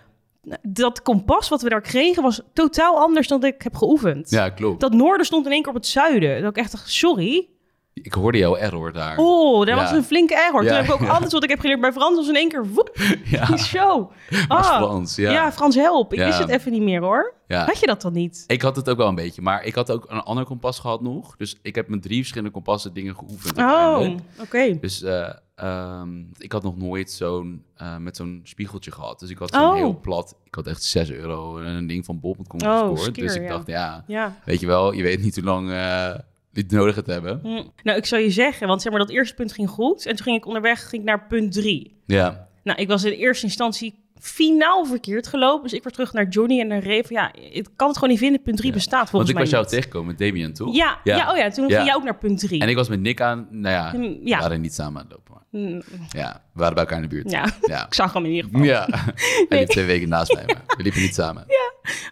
S1: Dat kompas wat we daar kregen was totaal anders dan ik heb geoefend.
S2: ja, klopt.
S1: Dat noorden stond in één keer op het zuiden. Dat ik echt dacht, sorry.
S2: Ik hoorde jouw error daar.
S1: Oh, dat
S2: Ja.
S1: was een flinke error.
S2: Ja.
S1: Toen heb ik ook alles wat ik heb geleerd bij Frans was in één keer... Woep,
S2: Ja,
S1: die show.
S2: maar
S1: Ah.
S2: Frans, ja.
S1: Ja. Frans, help. Ik
S2: Ja.
S1: wist het even niet meer hoor.
S2: ja.
S1: Had je dat dan niet?
S2: Ik had het ook wel een beetje, maar ik had ook een ander kompas gehad nog. Dus ik heb met drie verschillende kompassen dingen geoefend.
S1: Oh,
S2: uiteindelijk.
S1: oké.
S2: Dus eh, ehm, ik had nog nooit zo'n, eh, met zo'n spiegeltje gehad. Dus ik had zo'n
S1: Oh.
S2: heel plat, ik had echt 6 euro en een ding van bol.com
S1: Oh,
S2: gescoord. dus
S1: skeer,
S2: ik
S1: ja.
S2: dacht, ja,
S1: Ja.
S2: Weet je wel, je weet niet hoe lang eh dit nodig gaat hebben.
S1: Hm. Nou, ik zou je zeggen, want zeg maar dat eerste punt ging goed. En toen ging ik onderweg ging ik naar punt drie.
S2: Ja,
S1: Nou, ik was in eerste instantie finaal verkeerd gelopen. Dus ik weer terug naar Johnny en naar Ray. van, Ja, ik kan het gewoon niet vinden. Punt drie
S2: Ja.
S1: bestaat
S2: want
S1: volgens
S2: ik was
S1: mij
S2: jou tegengekomen met Damien, toch?
S1: niet. Ja, ja.
S2: Ja.
S1: oh ja, toen
S2: Ja.
S1: ging jij ook naar punt drie.
S2: En ik was met Nick aan, nou ja,
S1: Hm,
S2: we
S1: ja.
S2: waren niet samen aan het lopen. Maar
S1: Hm,
S2: ja, we waren bij elkaar in de buurt.
S1: ja,
S2: Ja.
S1: ik zag hem in ieder geval.
S2: Ja. Hij
S1: Nee.
S2: liep twee weken naast mij, maar we liepen niet samen.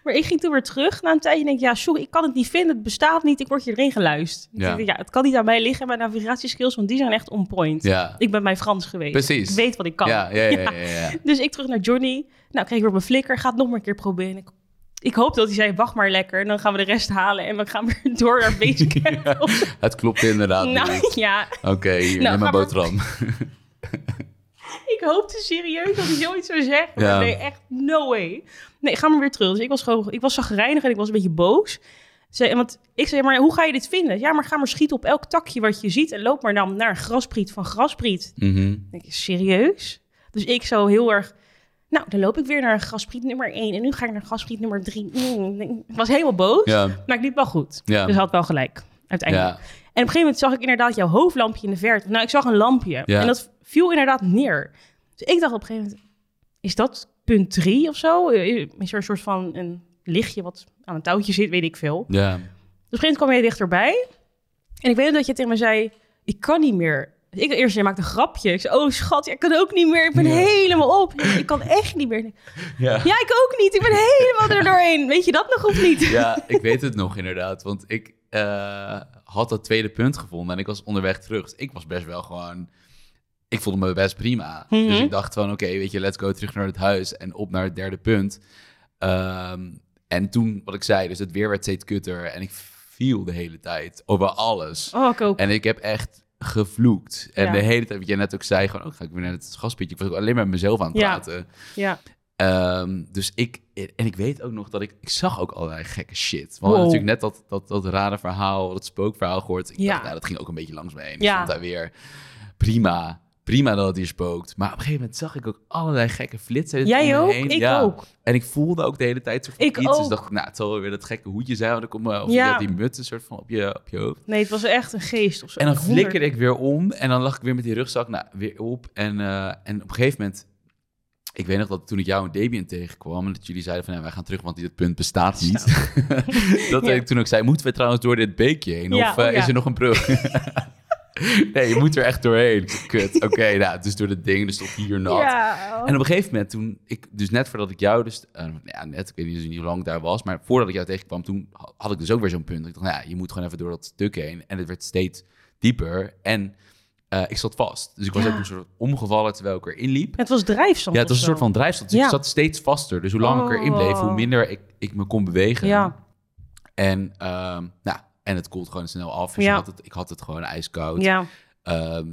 S1: Maar ik ging toen weer terug na een tijdje. En denk ik, ja, sorry, ik kan het niet vinden. Het bestaat niet. Ik word hierin geluisterd.
S2: Ja.
S1: Ja. ja, het kan niet aan mij liggen. Mijn navigatieskills, want die zijn echt on point.
S2: Ja,
S1: Ik ben bij Frans geweest.
S2: Precies.
S1: Ik weet wat ik kan.
S2: ja, ja, ja, ja, ja, ja.
S1: Dus ik terug naar Johnny. Nou, kreeg ik weer mijn flikker. Ga het nog maar een keer proberen. Ik, ik hoop dat hij zei, wacht maar lekker. En dan gaan we de rest halen. En we gaan weer door naar Basecamp.
S2: Ja, Het klopt inderdaad
S1: nou
S2: niet.
S1: ja,
S2: Oké,
S1: Nou,
S2: hier, neem maar
S1: ga maar.
S2: boterham.
S1: ik hoopte serieus dat hij zoiets zou zeggen.
S2: Ja.
S1: Maar Nee, echt no way. Nee, ga maar weer terug. Dus ik was gewoon, ik was zagrijnig en ik was een beetje boos. Zei, want ik zei, maar hoe ga je dit vinden? Ja, maar ga maar schieten op elk takje wat je ziet. En loop maar dan naar een graspriet van graspriet.
S2: Mhm.
S1: Ik denk, serieus? Dus ik zo heel erg... Nou, dan loop ik weer naar gaspriet nummer 1. En nu ga ik naar gaspriet nummer 3. Mm, ik was helemaal boos.
S2: Ja,
S1: Maar ik liep wel goed.
S2: ja,
S1: Dus hij had wel gelijk, uiteindelijk.
S2: ja.
S1: En op een gegeven moment zag ik inderdaad jouw hoofdlampje in de verte. Nou, ik zag een lampje.
S2: Ja.
S1: En dat viel inderdaad neer. Dus ik dacht op een gegeven moment... Is dat punt 3 of zo? Eh, Is er een soort van een lichtje wat aan een touwtje zit? Weet ik veel.
S2: ja.
S1: Dus op een gegeven moment kwam jij dichterbij. En ik weet nog dat je tegen me zei, ik kan niet meer. Dus ik eerst, jij maakte een grapje. Ik zei, oh schat, ja, ik kan ook niet meer. Ik ben
S2: Ja.
S1: helemaal op. Ik kan echt niet meer.
S2: ja.
S1: Ja, ik ook niet. Ik ben helemaal er doorheen. Weet je dat nog of niet?
S2: Ja, ik weet het nog inderdaad. Want ik eh, had dat tweede punt gevonden en ik was onderweg terug. Dus ik was best wel gewoon... Ik voelde me best prima.
S1: Mhm.
S2: Dus ik dacht van, oké, weet je, let's go terug naar het huis en op naar het derde punt. Ehm, en toen, wat ik zei, dus het weer werd steeds kutter en ik viel de hele tijd over alles.
S1: Oh, ik ook.
S2: En ik heb echt gevloekt. En
S1: Ja.
S2: de hele tijd, wat jij net ook zei, gewoon, oh, ga ik weer naar het gaspietje. Ik was ook alleen maar met mezelf aan het
S1: Ja.
S2: praten.
S1: Ja.
S2: Ehm, dus ik, en ik weet ook nog dat ik, ik zag ook allerlei gekke shit. We hadden
S1: Wow.
S2: natuurlijk net dat, dat, dat rare verhaal, dat spookverhaal gehoord. Ik
S1: Ja.
S2: dacht, nou, dat ging ook een beetje langs me heen. Ik
S1: Ja.
S2: vond daar weer prima, prima dat het hier spookt. Maar op een gegeven moment zag ik ook allerlei gekke flitsen. om me
S1: Jij ook?
S2: heen.
S1: Ik
S2: Ja.
S1: ook.
S2: En ik voelde ook de hele tijd soort van
S1: Ik
S2: iets. Dus
S1: ook.
S2: dacht ik, nou, het zal wel weer dat gekke hoedje zijn. want ik kom, eh, of
S1: Ja.
S2: je had die muts een soort van op je, op je hoofd.
S1: Nee, het was echt een geest of zo.
S2: En dan
S1: Honderd.
S2: flikkerde ik weer om en dan lag ik weer met die rugzak nou, weer op. En, eh, en op een gegeven moment Ik weet nog dat toen ik jou en Debian tegenkwam... en dat jullie zeiden van, ja, wij gaan terug, want dit punt bestaat niet. dat
S1: Ja.
S2: ik toen ook zei, moeten we trouwens door dit beekje heen?
S1: Ja,
S2: of eh,
S1: oh ja.
S2: is er nog een brug? nee, je moet er echt doorheen. Ik zei, Kut, oké, nou, dus door dat ding, dus tot hier nat.
S1: Ja.
S2: En op een gegeven moment toen, ik, dus net voordat ik jou dus, eh, nou ja, net, ik weet niet eens hoe lang ik daar was, maar voordat ik jou tegenkwam, toen ha- had ik dus ook weer zo'n punt. Ik dacht, nou ja, je moet gewoon even door dat stuk heen. En het werd steeds dieper en eh, ik zat vast. Dus ik was
S1: Ja.
S2: ook een soort omgevallen terwijl ik erin liep.
S1: Het was drijfzand.
S2: Ja,
S1: of
S2: het was een
S1: zo.
S2: soort van drijfstand. Dus
S1: Ja.
S2: ik zat steeds vaster. Dus hoe langer ik erin bleef,
S1: Oh.
S2: hoe minder ik, ik me kon bewegen.
S1: Ja.
S2: En, ehm, nou, en het koelt gewoon snel af. Dus
S1: Ja.
S2: ik, had het, ik had het gewoon ijskoud.
S1: Ja.
S2: Ehm,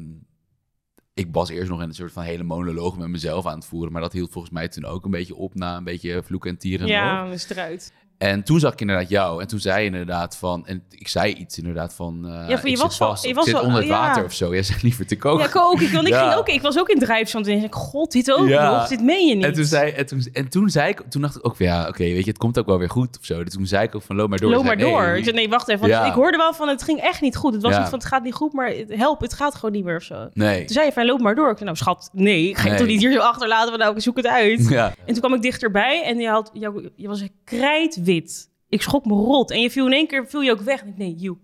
S2: ik was eerst nog in een soort van hele monoloog met mezelf aan het voeren. Maar dat hield volgens mij toen ook een beetje op na een beetje vloeken en tieren.
S1: Ja,
S2: ook.
S1: dan is het eruit.
S2: En toen zag ik inderdaad jou. En toen zei je inderdaad van... En ik zei iets inderdaad van... eh,
S1: Ja, van, je
S2: ik zit
S1: was wel-
S2: vast,
S1: je
S2: of
S1: was
S2: ik zit
S1: wel-
S2: onder het
S1: ja.
S2: water of zo. Jij zegt liever te
S1: Ja,
S2: koken.
S1: ik ook. Ik, want ik,
S2: Ja.
S1: ging ook, ik was ook in drijfzand. En ik dacht, god, dit ook
S2: Ja.
S1: nog. Dit meen je niet.
S2: en toen, zei, en, toen, en toen zei ik, toen dacht ik ook van ja, oké, weet je, het komt ook wel weer goed of zo. Dus toen zei ik ook van loop maar door.
S1: Loop
S2: Ze
S1: maar
S2: zei,
S1: door.
S2: nee.
S1: Ik zei, nee, wacht even. Want
S2: Ja.
S1: ik hoorde wel van, het ging echt niet goed. Het was
S2: Ja.
S1: niet van, het gaat niet goed, maar het- help, het gaat gewoon niet meer of zo. Toen
S2: Nee.
S1: zei je van, loop maar door. Ik zei, nou schat, nee, ik ga je
S2: Nee.
S1: toch niet hier zo achterlaten. Want nou, ik zoek het uit.
S2: Ja.
S1: En toen kwam ik dichterbij en je, had, jou, je was krijtwit. Ik schrok me rot. En je viel in één keer viel je ook weg. En ik, nee, joe.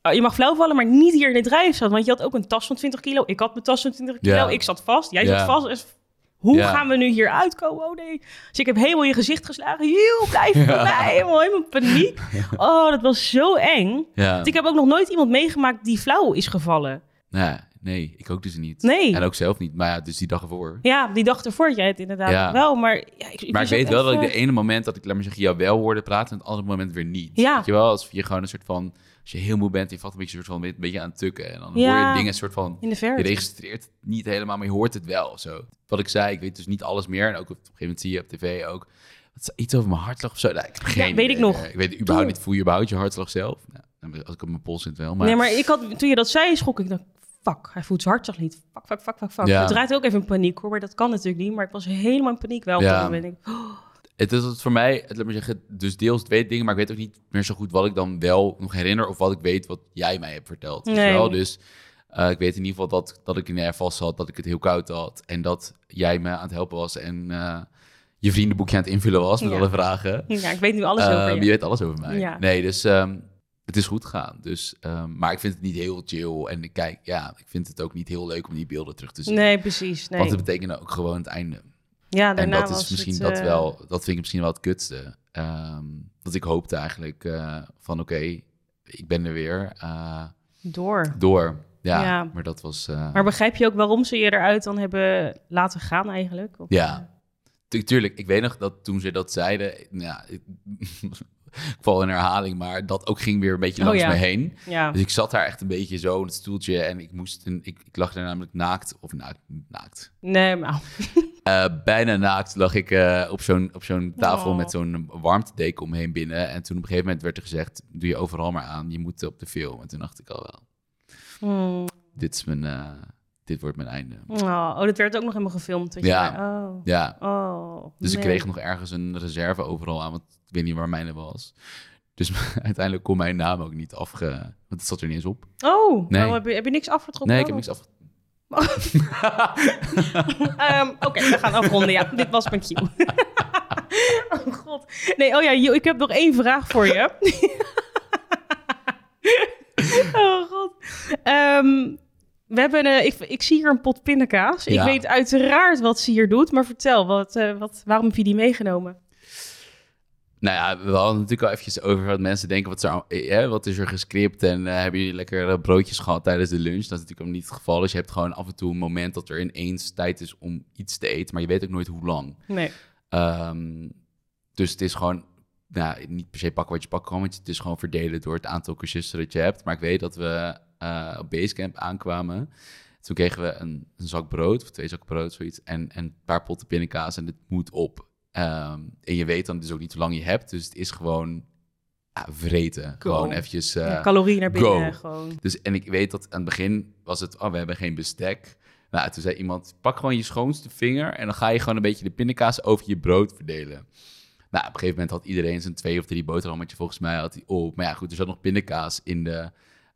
S1: Ah, Je mag flauw vallen, maar niet hier in het drijfzand. Want je had ook een tas van 20 kilo. Ik had mijn tas van 20 kilo.
S2: Ja.
S1: Ik zat vast. Jij
S2: Ja.
S1: zat vast. Dus hoe
S2: Ja.
S1: gaan we nu hier uitkomen? Oh nee. Dus ik heb helemaal in je gezicht geslagen. Heel, blijf bij mij. Helemaal, helemaal paniek. Oh, dat was zo eng.
S2: Ja.
S1: Want ik heb ook nog nooit iemand meegemaakt die flauw is gevallen.
S2: Ja. Nee, ik ook dus niet.
S1: Nee.
S2: En ook zelf niet. Maar ja, dus die dag ervoor.
S1: Ja, die dag ervoor had jij het inderdaad
S2: Ja.
S1: wel. Maar, ja, ik,
S2: maar ik
S1: was
S2: weet
S1: ook eh,
S2: wel dat ik
S1: even-
S2: de ene moment dat ik, laat maar zeggen, jou wel hoorde praten... en het andere moment weer niet.
S1: Ja.
S2: Weet je wel, als je gewoon een soort van... Als je heel moe bent, je valt een beetje, soort van, een beetje aan het tukken. En dan hoor
S1: Ja.
S2: je dingen soort van...
S1: In de
S2: Je
S1: verte.
S2: registreert het niet helemaal, maar je hoort het wel. of Zo. Wat ik zei, ik weet dus niet alles meer. En ook op een gegeven moment zie je op tv ook... wat is Iets over mijn hartslag of zo. Nou, ik heb geen
S1: weet
S2: idee
S1: ik nog.
S2: meer. Ik weet überhaupt
S1: Toen-
S2: niet, voel je überhaupt je hartslag zelf? Nou, als ik op mijn pols zit wel, maar...
S1: Nee, maar ik had, toen je dat zei, schrok ik. dacht, fuck, hij voelt zijn hart toch niet. Fuck, fuck, fuck, fuck, fuck.
S2: Ja.
S1: Het raakte ook even in paniek hoor, maar dat kan natuurlijk niet. Maar ik was helemaal in paniek wel. op
S2: Ja.
S1: dat moment. Ik-
S2: Het is wat voor mij, het, laat maar zeggen, dus deels twee dingen, maar ik weet ook niet meer zo goed wat ik dan wel nog herinner of wat ik weet wat jij mij hebt verteld. weet je
S1: Nee.
S2: Wel? Dus eh, ik weet in ieder geval dat, dat ik in air vast had, dat ik het heel koud had en dat jij me aan het helpen was en eh, je vriendenboekje aan het invullen was met
S1: Ja.
S2: alle vragen.
S1: Ja, ik weet nu alles
S2: Ehm,
S1: over
S2: je
S1: je.
S2: weet alles over mij.
S1: Ja.
S2: Nee, dus ehm, het is goed gegaan. Dus, ehm, maar ik vind het niet heel chill en ik kijk, ja, ik vind het ook niet heel leuk om die beelden terug te zien.
S1: Nee, precies. Nee.
S2: Want het betekent ook gewoon het einde.
S1: ja,
S2: En
S1: daarna
S2: dat is
S1: was
S2: misschien
S1: het,
S2: dat
S1: eh,
S2: wel, dat vind ik misschien wel het kutste. Ehm, dat ik hoopte eigenlijk eh, van oké, ik ben er weer eh,
S1: Door.
S2: door. Ja,
S1: Ja.
S2: maar dat was. eh,
S1: Maar begrijp je ook waarom ze je eruit dan hebben laten gaan eigenlijk? Of-
S2: Ja, Tu- tuurlijk. Ik weet nog dat toen ze dat zeiden, nou ja, ik, ik val in herhaling, maar dat ook ging weer een beetje
S1: Oh,
S2: langs
S1: ja.
S2: me heen.
S1: Ja.
S2: Dus ik zat daar echt een beetje zo in het stoeltje en ik moest, een- ik, ik lag daar namelijk naakt of naakt, naakt.
S1: Nee, maar...
S2: Eh, bijna naakt lag ik eh, op zo'n op zo'n tafel
S1: Oh.
S2: met zo'n warmtedeken omheen binnen. En toen op een gegeven moment werd er gezegd, doe je overal maar aan, je moet op de film. En toen dacht ik al wel,
S1: Hmm.
S2: dit, is mijn, eh, dit wordt mijn einde.
S1: Oh, oh, dat werd ook nog helemaal gefilmd. dat je
S2: Ja.
S1: daar- Oh.
S2: Ja,
S1: Oh,
S2: dus ik
S1: nee.
S2: kreeg nog ergens een reserve overal aan, want ik weet niet waar mijne was. Dus uiteindelijk kon mijn naam ook niet afge... Want het zat er niet eens op.
S1: Oh,
S2: Nee.
S1: oh, heb, je, heb je niks afgetrokken?
S2: Nee, ik heb
S1: dan?
S2: niks af.
S1: Ehm, Oké, we gaan afronden. Ja, dit was mijn cue. oh god. Nee, oh ja, Jo, ik heb nog één vraag voor je. oh god. Ehm, we hebben, eh, ik, ik zie hier een pot pindakaas. Ik
S2: Ja.
S1: weet uiteraard wat ze hier doet, maar vertel, wat, eh, wat, waarom heb je die meegenomen?
S2: Nou ja, we hadden het natuurlijk al eventjes over wat mensen denken. Wat, zou, eh, wat is er gescript en eh, hebben jullie lekker eh, broodjes gehad tijdens de lunch? Dat is natuurlijk ook niet het geval. Dus je hebt gewoon af en toe een moment dat er ineens tijd is om iets te eten. Maar je weet ook nooit hoe lang.
S1: Nee.
S2: Ehm, dus het is gewoon, nou, niet per se pakken wat je pakken kan. Want het is gewoon verdelen door het aantal cursisten dat je hebt. Maar ik weet dat we eh, op Basecamp aankwamen. Toen kregen we een, een zak brood, of twee zakken brood, zoiets. En, en een paar potten pindakaas en het moet op. Ehm, en je weet dan dus ook niet hoe lang je hebt. Dus het is gewoon ja, vreten.
S1: Cool.
S2: Gewoon eventjes... eh,
S1: Ja, calorieën naar
S2: go.
S1: binnen gewoon.
S2: dus, en ik weet dat aan het begin was het, oh, we hebben geen bestek. Nou, toen zei iemand, pak gewoon je schoonste vinger en dan ga je gewoon een beetje de pindakaas over je brood verdelen. Nou, op een gegeven moment had iedereen zijn twee of drie boterhammetje volgens mij had hij op. Maar ja, goed, er zat nog pindakaas in de,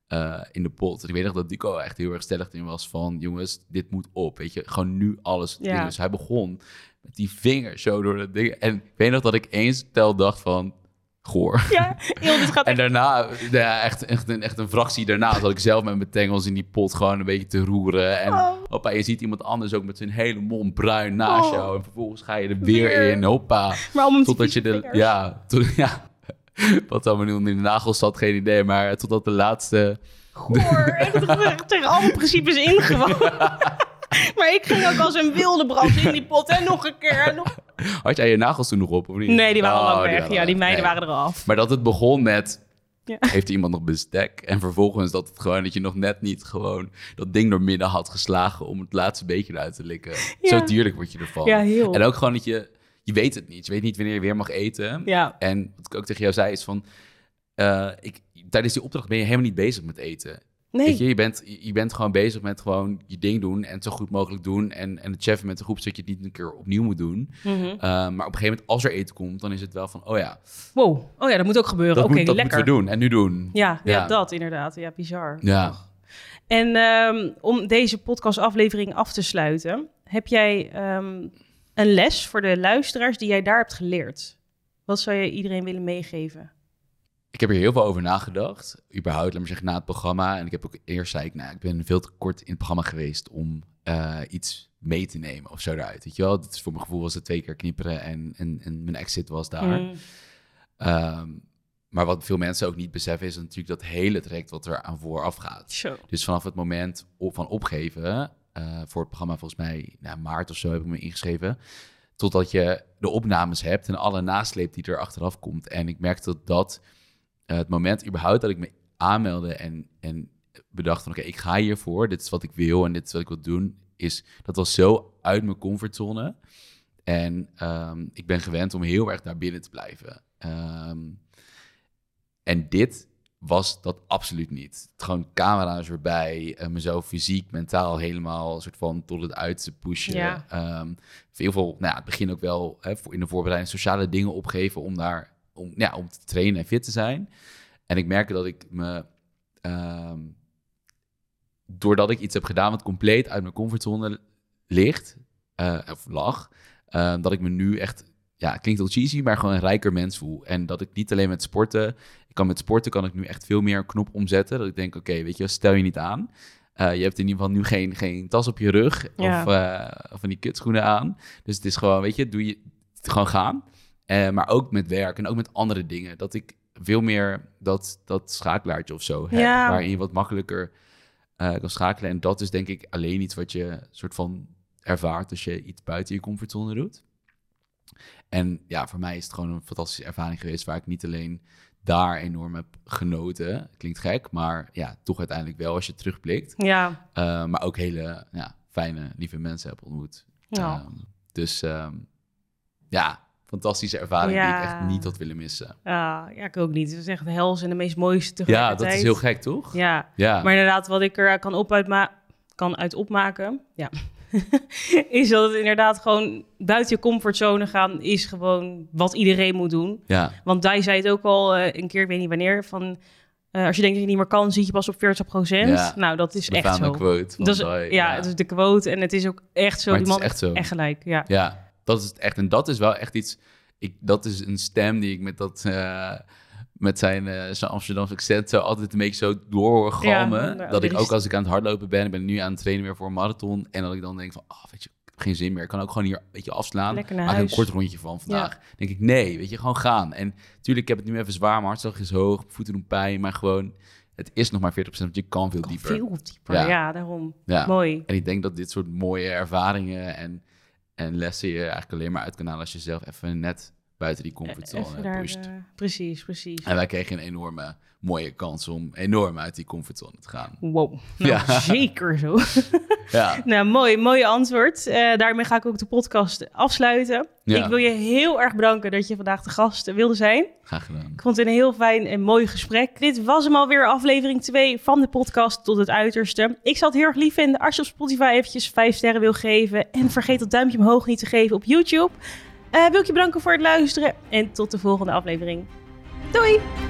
S2: eh, in de pot. En ik weet nog dat Duco echt heel erg stellig in was van, jongens, dit moet op, weet je. Gewoon nu alles
S1: Ja.
S2: dingen. Dus hij begon met die vinger zo door dat ding. En ik weet nog dat ik eens tel dacht van, goor.
S1: Ja, joh, dit gaat
S2: En
S1: echt...
S2: daarna, ja, echt, echt, een, echt een fractie daarna, zat ik zelf met mijn tengels in die pot gewoon een beetje te roeren. En
S1: Oh.
S2: hoppa, je ziet iemand anders ook met zijn hele mond bruin naast
S1: Oh.
S2: jou. En vervolgens ga je er weer,
S1: Weer.
S2: in, hoppa.
S1: Maar om hem te
S2: Totdat je de,
S1: vingers.
S2: ja, tot, ja, wat allemaal in de nagels zat, geen idee. Maar totdat de laatste,
S1: Goor, echt tegen alle principes ingewoon. maar ik ging ook als een wilde brand in die pot. En nog een keer. en nog-
S2: had jij je nagels toen nog op of niet?
S1: Nee, die waren
S2: Oh,
S1: al lang weg.
S2: waren
S1: Ja, die
S2: weg.
S1: meiden
S2: Nee.
S1: waren er al af.
S2: Maar dat het begon met.
S1: Ja.
S2: Heeft iemand nog bestek? En vervolgens dat het gewoon dat je nog net niet gewoon dat ding door midden had geslagen om het laatste beetje eruit te likken.
S1: Ja.
S2: Zo dierlijk word je ervan.
S1: Ja, heel.
S2: En ook gewoon dat je, je weet het niet. Je weet niet wanneer je weer mag eten.
S1: Ja.
S2: En wat ik ook tegen jou zei is van, eh, ik, tijdens die opdracht ben je helemaal niet bezig met eten. Weet
S1: Nee.
S2: je, je bent, je je bent gewoon bezig met gewoon je ding doen en het zo goed mogelijk doen. En, en het cheffen met de groep zodat je het niet een keer opnieuw moet doen.
S1: Mhm.
S2: Eh, maar op een gegeven moment als er eten komt, dan is het wel van, oh ja,
S1: Wow. Oh ja, dat moet ook gebeuren.
S2: dat,
S1: Oké,
S2: moet, dat
S1: lekker.
S2: moeten we doen en nu doen.
S1: Ja, ja.
S2: Ja.
S1: dat inderdaad. Ja, bizar.
S2: Ja.
S1: En ehm, om deze podcastaflevering af te sluiten, heb jij ehm, een les voor de luisteraars die jij daar hebt geleerd? Wat zou je iedereen willen meegeven?
S2: Ik heb hier heel veel over nagedacht. Überhaupt, laat maar zeggen, na het programma. En ik heb ook eerst zei ik, nou, ik ben veel te kort in het programma geweest om eh, iets mee te nemen of zo eruit. Weet je wel, dat is voor mijn gevoel was het twee keer knipperen en, en, en mijn exit was daar.
S1: Mm.
S2: Ehm, maar wat veel mensen ook niet beseffen is natuurlijk dat hele traject wat er aan vooraf gaat.
S1: Zo.
S2: Dus vanaf het moment op, van opgeven, eh, voor het programma volgens mij nou, maart of zo heb ik me ingeschreven, totdat je de opnames hebt en alle nasleep die er achteraf komt. En ik merkte dat dat eh, het moment überhaupt dat ik me aanmeldde en, en bedacht van oké, ik ga hiervoor, dit is wat ik wil en dit is wat ik wil doen, is, dat was zo uit mijn comfortzone. En ehm, ik ben gewend om heel erg daar binnen te blijven. Ehm, en dit was dat absoluut niet. Het Gewoon camera's erbij, eh, mezelf fysiek, mentaal helemaal soort van tot het uiterste pushen.
S1: Ja.
S2: Ehm, veel veel, nou ja, het begin ook wel hè, voor- in de voorbereiding sociale dingen opgeven om daar, om, nou ja, om te trainen en fit te zijn. En ik merk dat ik me, ehm, doordat ik iets heb gedaan wat compleet uit mijn comfortzone ligt, eh, of lag, eh, dat ik me nu echt, ja, het klinkt heel cheesy, maar gewoon een rijker mens voel. En dat ik niet alleen met sporten, ik kan met sporten kan ik nu echt veel meer een knop omzetten. Dat ik denk, oké, weet je, wel, stel je niet aan. Eh, je hebt in ieder geval nu geen, geen tas op je rug
S1: Ja.
S2: of, eh, of van die kutschoenen aan. Dus het is gewoon, weet je, doe je gewoon gaan. Eh, maar ook met werk en ook met andere dingen. Dat ik veel meer dat, dat schakelaartje of zo heb.
S1: Ja.
S2: Waarin je wat makkelijker eh, kan schakelen. En dat is denk ik alleen iets wat je soort van ervaart als je iets buiten je comfortzone doet. En ja, voor mij is het gewoon een fantastische ervaring geweest waar ik niet alleen daar enorm heb genoten. Klinkt gek, maar ja, toch uiteindelijk wel als je terugblikt.
S1: Ja.
S2: Eh, maar ook hele ja, fijne, lieve mensen heb ontmoet.
S1: Ja.
S2: Ehm, dus ehm, ja, fantastische ervaring die ik
S1: Ja.
S2: echt niet had willen missen.
S1: Ah, ja, ik ook niet. Het is echt de hels en de meest mooiste
S2: Ja,
S1: tegelijkertijd.
S2: dat is heel gek, toch?
S1: Ja,
S2: Ja.
S1: Maar inderdaad, wat ik er eh, kan, op uitma- kan uit opmaken, ja, is dat het inderdaad gewoon buiten je comfortzone gaan is gewoon wat iedereen moet doen.
S2: ja.
S1: Want Dai zei het ook al eh, een keer, ik weet niet wanneer, van eh, als je denkt dat je niet meer kan, zit je pas op 40%.
S2: Ja.
S1: Nou, dat is echt
S2: Befaamde
S1: zo.
S2: quote van
S1: Dat is, ja,
S2: Dai,
S1: het is de quote en het is ook echt zo.
S2: Maar
S1: Die
S2: het
S1: man
S2: is echt zo.
S1: echt gelijk, ja.
S2: Ja, dat is het echt. En dat is wel echt iets. Ik, dat is een stem die ik met dat. eh, met zijn, eh zijn Amsterdamse accent zo altijd een beetje zo door hoor galmen.
S1: Ja, maar
S2: dat ik
S1: er is-
S2: ook als ik aan het hardlopen ben, ik ben nu aan het trainen weer voor een marathon. En dat ik dan denk van, ah, weet je, ik heb geen zin meer. Ik kan ook gewoon hier een beetje afslaan.
S1: Lekker naar
S2: Maak een
S1: huis.
S2: kort rondje van vandaag. denk ik, nee, weet je, gewoon gaan. En natuurlijk, ik heb het nu even zwaar, mijn hartslag is hoog, mijn voeten doen pijn. Maar gewoon, het is nog maar 40%, want je kan veel
S1: Kan
S2: dieper.
S1: Veel dieper, ja,
S2: Ja.
S1: daarom.
S2: Ja.
S1: Mooi.
S2: En ik denk dat dit soort mooie ervaringen en, en lessen je eigenlijk alleen maar uit kan halen als je zelf even net buiten die
S1: Even
S2: comfortzone
S1: daar,
S2: pusht.
S1: eh, precies, precies.
S2: En wij kregen een enorme mooie kans om enorm uit die comfortzone te gaan.
S1: Wow, nou,
S2: Ja.
S1: zeker zo.
S2: Ja,
S1: Nou, mooi, mooi antwoord. Eh, daarmee ga ik ook de podcast afsluiten.
S2: Ja.
S1: Ik wil je heel erg bedanken dat je vandaag de gast eh, wilde zijn.
S2: graag gedaan.
S1: Ik vond het een heel fijn en mooi gesprek. Dit was hem alweer, aflevering 2 van de podcast Tot het Uiterste. Ik zou het heel erg lief vinden als je op Spotify eventjes 5 sterren wil geven. En vergeet dat duimpje omhoog niet te geven op YouTube. Eh, wil ik je bedanken voor het luisteren en tot de volgende aflevering. Doei!